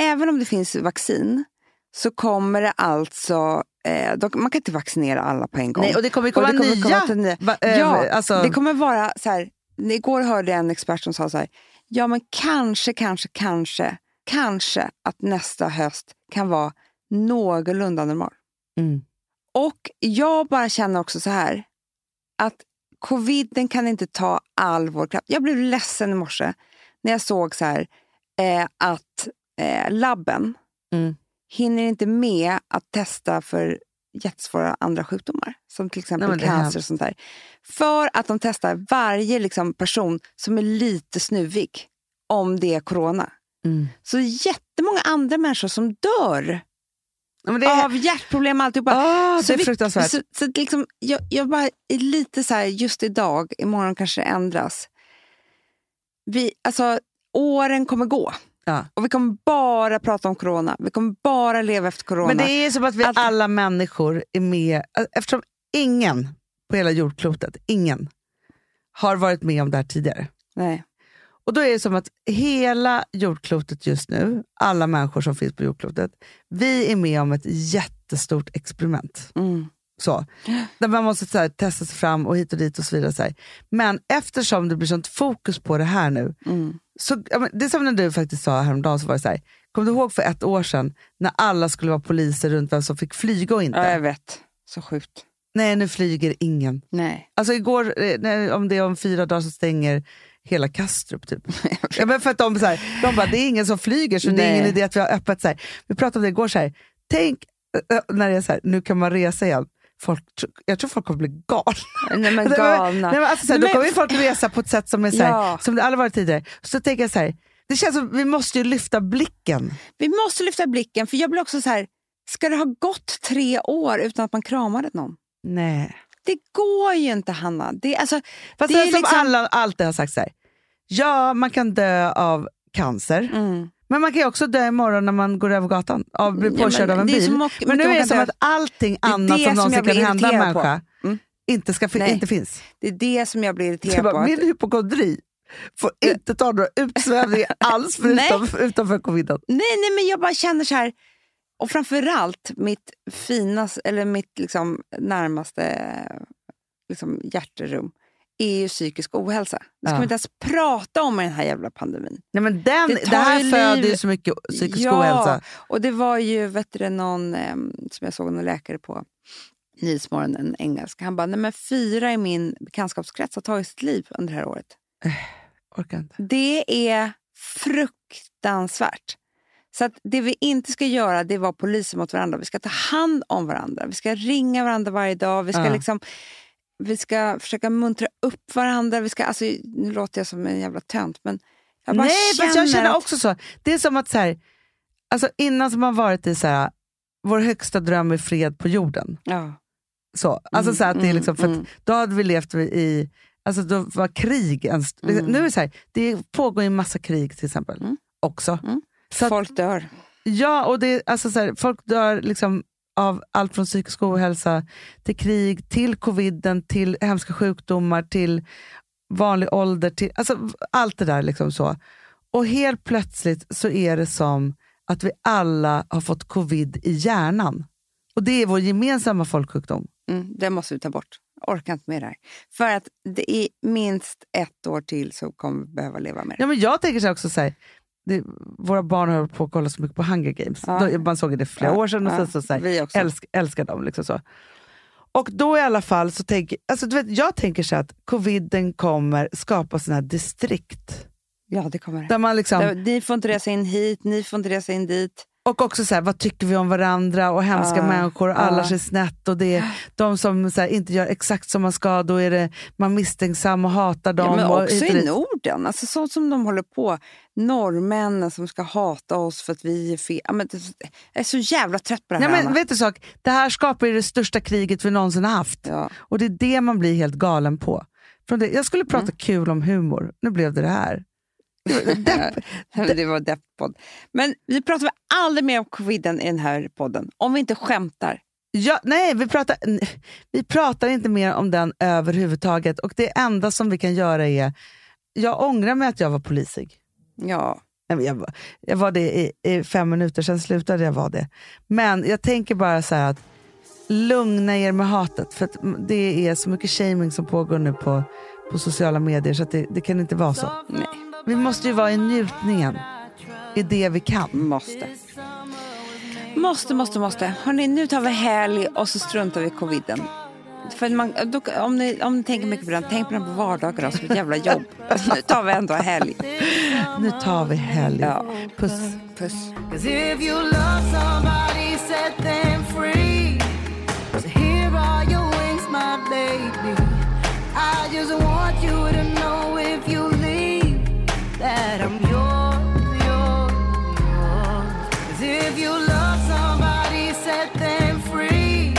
[SPEAKER 4] även om det finns vaccin, så kommer det alltså... Eh, då, man kan inte vaccinera alla på en gång.
[SPEAKER 2] Nej, och det kommer ju komma
[SPEAKER 4] Och det kommer
[SPEAKER 2] nya,
[SPEAKER 4] komma till nya-
[SPEAKER 2] va- eh,
[SPEAKER 4] ja,
[SPEAKER 2] alltså,
[SPEAKER 4] det kommer vara så här. Igår hörde jag en expert som sa så här. Ja, men kanske, kanske, kanske, kanske att nästa höst kan vara någorlunda normal.
[SPEAKER 2] Mm.
[SPEAKER 4] Och jag bara känner också så här, att coviden kan inte ta all vår kraft. Jag blev ledsen i morse när jag såg så här, eh, att eh, labben
[SPEAKER 2] Mm.
[SPEAKER 4] hinner inte med att testa för jättesvåra andra sjukdomar, som till exempel
[SPEAKER 2] men det är
[SPEAKER 4] cancer och
[SPEAKER 2] hemskt.
[SPEAKER 4] sånt där. För att de testar varje liksom, person som är lite snuvig, om det är corona.
[SPEAKER 2] Mm.
[SPEAKER 4] Så det är jättemånga andra människor som dör
[SPEAKER 2] Ja, men det är,
[SPEAKER 4] av hjärtproblem och alltihopa.
[SPEAKER 2] Ah, det
[SPEAKER 4] Ah, Så
[SPEAKER 2] är
[SPEAKER 4] vi-
[SPEAKER 2] fruktansvärt.
[SPEAKER 4] Så, så att liksom, jag, jag bara är lite så här, just idag, imorgon kanske det ändras. Vi, alltså, åren kommer gå.
[SPEAKER 2] Ja.
[SPEAKER 4] Och vi kommer bara prata om corona. Vi kommer bara leva efter corona.
[SPEAKER 2] Men det är som att vi
[SPEAKER 4] Allt-
[SPEAKER 2] alla människor är med, eftersom ingen på hela jordklotet, ingen, har varit med om det här tidigare.
[SPEAKER 4] Nej.
[SPEAKER 2] Och då är det som att hela jordklotet just nu, alla människor som finns på jordklotet, vi är med om ett jättestort experiment.
[SPEAKER 4] Mm.
[SPEAKER 2] Så. Där man måste så här, testa sig fram och hit och dit och så vidare. Så här. Men eftersom det blir sånt fokus på det här nu,
[SPEAKER 4] Mm.
[SPEAKER 2] så, ja, men det är som när du faktiskt sa häromdagen, så var det så här, kommer du ihåg för ett år sedan när alla skulle vara poliser runt vem som fick flyga och inte?
[SPEAKER 4] Ja, jag vet. Så sjukt.
[SPEAKER 2] Nej, nu flyger ingen.
[SPEAKER 4] Nej.
[SPEAKER 2] Alltså igår, eh, när, om det är om fyra dagar så stänger hela Kastrup typ. ja, men för att de, så här, de bara, det är ingen som flyger så det är
[SPEAKER 4] Nej.
[SPEAKER 2] ingen idé att vi har öppet. Så här. Vi pratade om det igår, så här. tänk eh, eh, när det är så här, nu kan man resa igen. Folk, tr- jag tror folk kommer bli galna.
[SPEAKER 4] Nej, men
[SPEAKER 2] Nej, men-
[SPEAKER 4] galna.
[SPEAKER 2] Nej, men alltså, så här,
[SPEAKER 4] Men-
[SPEAKER 2] då kommer ju folk resa på ett sätt som, är, så här,
[SPEAKER 4] Ja.
[SPEAKER 2] som det aldrig varit tidigare. Så tänker jag så här, det känns som vi måste ju lyfta blicken.
[SPEAKER 4] Vi måste lyfta blicken, för jag blir också så här, ska det ha gått tre år utan att man kramade någon?
[SPEAKER 2] Nej.
[SPEAKER 4] Det går ju inte, Hanna. Det, alltså,
[SPEAKER 2] Fast
[SPEAKER 4] det är
[SPEAKER 2] sen, som
[SPEAKER 4] liksom-
[SPEAKER 2] alla alltid har sagt så här, ja man kan dö av cancer.
[SPEAKER 4] mm.
[SPEAKER 2] Men man kan ju också dö imorgon när man går över gatan av
[SPEAKER 4] Ja,
[SPEAKER 2] blir
[SPEAKER 4] men
[SPEAKER 2] påkörd av en
[SPEAKER 4] det är så
[SPEAKER 2] bil.
[SPEAKER 4] många-
[SPEAKER 2] men
[SPEAKER 4] mycket man
[SPEAKER 2] nu är det
[SPEAKER 4] kan
[SPEAKER 2] som
[SPEAKER 4] dö.
[SPEAKER 2] att allting
[SPEAKER 4] är
[SPEAKER 2] annat
[SPEAKER 4] det
[SPEAKER 2] som
[SPEAKER 4] som
[SPEAKER 2] någonsin
[SPEAKER 4] jag blir
[SPEAKER 2] kan hända en
[SPEAKER 4] irriterad på.
[SPEAKER 2] människa
[SPEAKER 4] Mm.
[SPEAKER 2] inte, ska, fi-
[SPEAKER 4] Nej.
[SPEAKER 2] inte finns.
[SPEAKER 4] det är det som jag blir
[SPEAKER 2] Så jag
[SPEAKER 4] irriterad på.
[SPEAKER 2] bara,
[SPEAKER 4] att-
[SPEAKER 2] min hypokondri får inte ta några utsvävningar alls förutom, utanför coviden.
[SPEAKER 4] Nej, nej, men jag bara känner så här. Och framförallt mitt finas, eller mitt liksom närmaste liksom hjärterum är ju psykisk ohälsa. Det ska
[SPEAKER 2] Ja.
[SPEAKER 4] vi inte ens prata om i den här jävla pandemin.
[SPEAKER 2] Nej, men den,
[SPEAKER 4] Det
[SPEAKER 2] det,
[SPEAKER 4] tar
[SPEAKER 2] här
[SPEAKER 4] ju
[SPEAKER 2] föder ju
[SPEAKER 4] liv.
[SPEAKER 2] så mycket psykisk
[SPEAKER 4] Ja.
[SPEAKER 2] ohälsa.
[SPEAKER 4] Och det var ju vet du, det, någon ehm, som jag såg en läkare på Nyhetsmorgon, en engelsk. Han bara, nej men fyra i min bekantskapskrets har tagit sitt liv under det här året.
[SPEAKER 2] Orkar inte.
[SPEAKER 4] Det är fruktansvärt. Så att det vi inte ska göra det är vara poliser mot varandra. Vi ska ta hand om varandra. Vi ska ringa varandra varje dag. Vi ska,
[SPEAKER 2] Ja.
[SPEAKER 4] liksom, vi ska försöka muntra upp varandra. Vi ska, alltså, nu låter jag som en jävla tönt, men jag bara
[SPEAKER 2] Nej,
[SPEAKER 4] känner...
[SPEAKER 2] fast jag känner
[SPEAKER 4] att-
[SPEAKER 2] också så. Det är som att så här, alltså innan som man varit i så här, vår högsta dröm är fred på jorden.
[SPEAKER 4] Ja.
[SPEAKER 2] Så. Alltså
[SPEAKER 4] Mm,
[SPEAKER 2] så att det är
[SPEAKER 4] mm,
[SPEAKER 2] liksom, för att
[SPEAKER 4] mm.
[SPEAKER 2] då hade vi levt i, alltså då var krig en st-
[SPEAKER 4] Mm.
[SPEAKER 2] Nu är det så här, det pågår ju en massa krig till exempel
[SPEAKER 4] Mm.
[SPEAKER 2] också.
[SPEAKER 4] Mm.
[SPEAKER 2] Så att,
[SPEAKER 4] Folk dör.
[SPEAKER 2] ja, och det är, alltså så här, folk dör liksom av allt från psykisk ohälsa till krig, till coviden, till hemska sjukdomar, till vanlig ålder, till, alltså v- allt det där liksom så. Och helt plötsligt så är det som att vi alla har fått covid i hjärnan. Och det är vår gemensamma folksjukdom.
[SPEAKER 4] Mm, det måste vi ta bort. Orkar inte med det här. För att det är minst ett år till så kommer vi behöva leva med det.
[SPEAKER 2] Ja, men jag tänker så här också så här, det, våra barn har hållit på att kolla så mycket på Hunger Games.
[SPEAKER 4] Ja.
[SPEAKER 2] Då, man såg det för flera
[SPEAKER 4] Ja,
[SPEAKER 2] år sedan och
[SPEAKER 4] ja,
[SPEAKER 2] sen så, så här,
[SPEAKER 4] Vi också.
[SPEAKER 2] älsk, älskar dem. Liksom så. Och då i alla fall, så tänker, alltså, du vet, jag tänker så här att coviden kommer skapa sådana här distrikt.
[SPEAKER 4] Ja, det kommer det.
[SPEAKER 2] Där man liksom,
[SPEAKER 4] Där- Ni får inte resa in hit, ni får inte resa in dit.
[SPEAKER 2] och också så här, vad tycker vi om varandra och hemska
[SPEAKER 4] Ja,
[SPEAKER 2] människor och alla
[SPEAKER 4] ja.
[SPEAKER 2] ser snett. Och det är de som så här, inte gör exakt som man ska, då är det, man misstänksam och hatar dem.
[SPEAKER 4] Ja, men
[SPEAKER 2] och
[SPEAKER 4] också
[SPEAKER 2] hit och
[SPEAKER 4] i
[SPEAKER 2] dit.
[SPEAKER 4] Norden. Alltså sånt som de håller på. Norrmännen som ska hata oss för att vi är fel. Ja, men det- Jag är så jävla trött på det här.
[SPEAKER 2] Nej, men,
[SPEAKER 4] Anna.
[SPEAKER 2] vet du en sak? Det här skapar ju det största kriget vi någonsin har haft.
[SPEAKER 4] ja.
[SPEAKER 2] Och det är det man blir helt galen på. Från det, jag skulle prata kul om humor, nu blev det det här. Depp.
[SPEAKER 4] Nej, men det var depppodd. Men vi pratar väl aldrig mer om coviden i den här podden. Om vi inte skämtar.
[SPEAKER 2] Ja, nej, vi pratar, nej, vi pratar inte mer om den överhuvudtaget. Och det enda som vi kan göra är, jag ångrar mig att jag var polisig.
[SPEAKER 4] Ja.
[SPEAKER 2] Nej, men Jag var, jag var det i, i fem minuter, sen slutade jag vara det. Men jag tänker bara så här att lugna er med hatet. För att det är så mycket shaming som pågår nu på, på sociala medier så att det, det kan inte vara så.
[SPEAKER 4] Nej.
[SPEAKER 2] Vi måste ju vara i njutningen, i det vi kan.
[SPEAKER 4] Måste. Måste, måste, måste. Hörrni, nu tar vi helg och så struntar vi i coviden. För man, då, om, ni, om ni tänker mycket på den, tänk på den på vardagar då, som ett jävla jobb. Nu tar vi ändå helg.
[SPEAKER 8] Nu tar vi helg.
[SPEAKER 4] Ja.
[SPEAKER 8] Puss.
[SPEAKER 4] Puss.
[SPEAKER 2] Cause if you love somebody, set them free. So here are your wings, my baby. I just want you to know if you leave that I'm yours, yours, yours. Cause if you love somebody, set them free.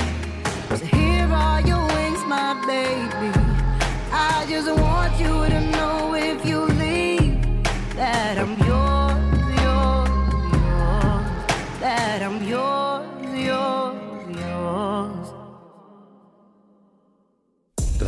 [SPEAKER 2] So here are your wings, my baby. I just want you to know if you leave that I'm yours, yours, yours. That I'm yours, yours, yours.
[SPEAKER 9] Den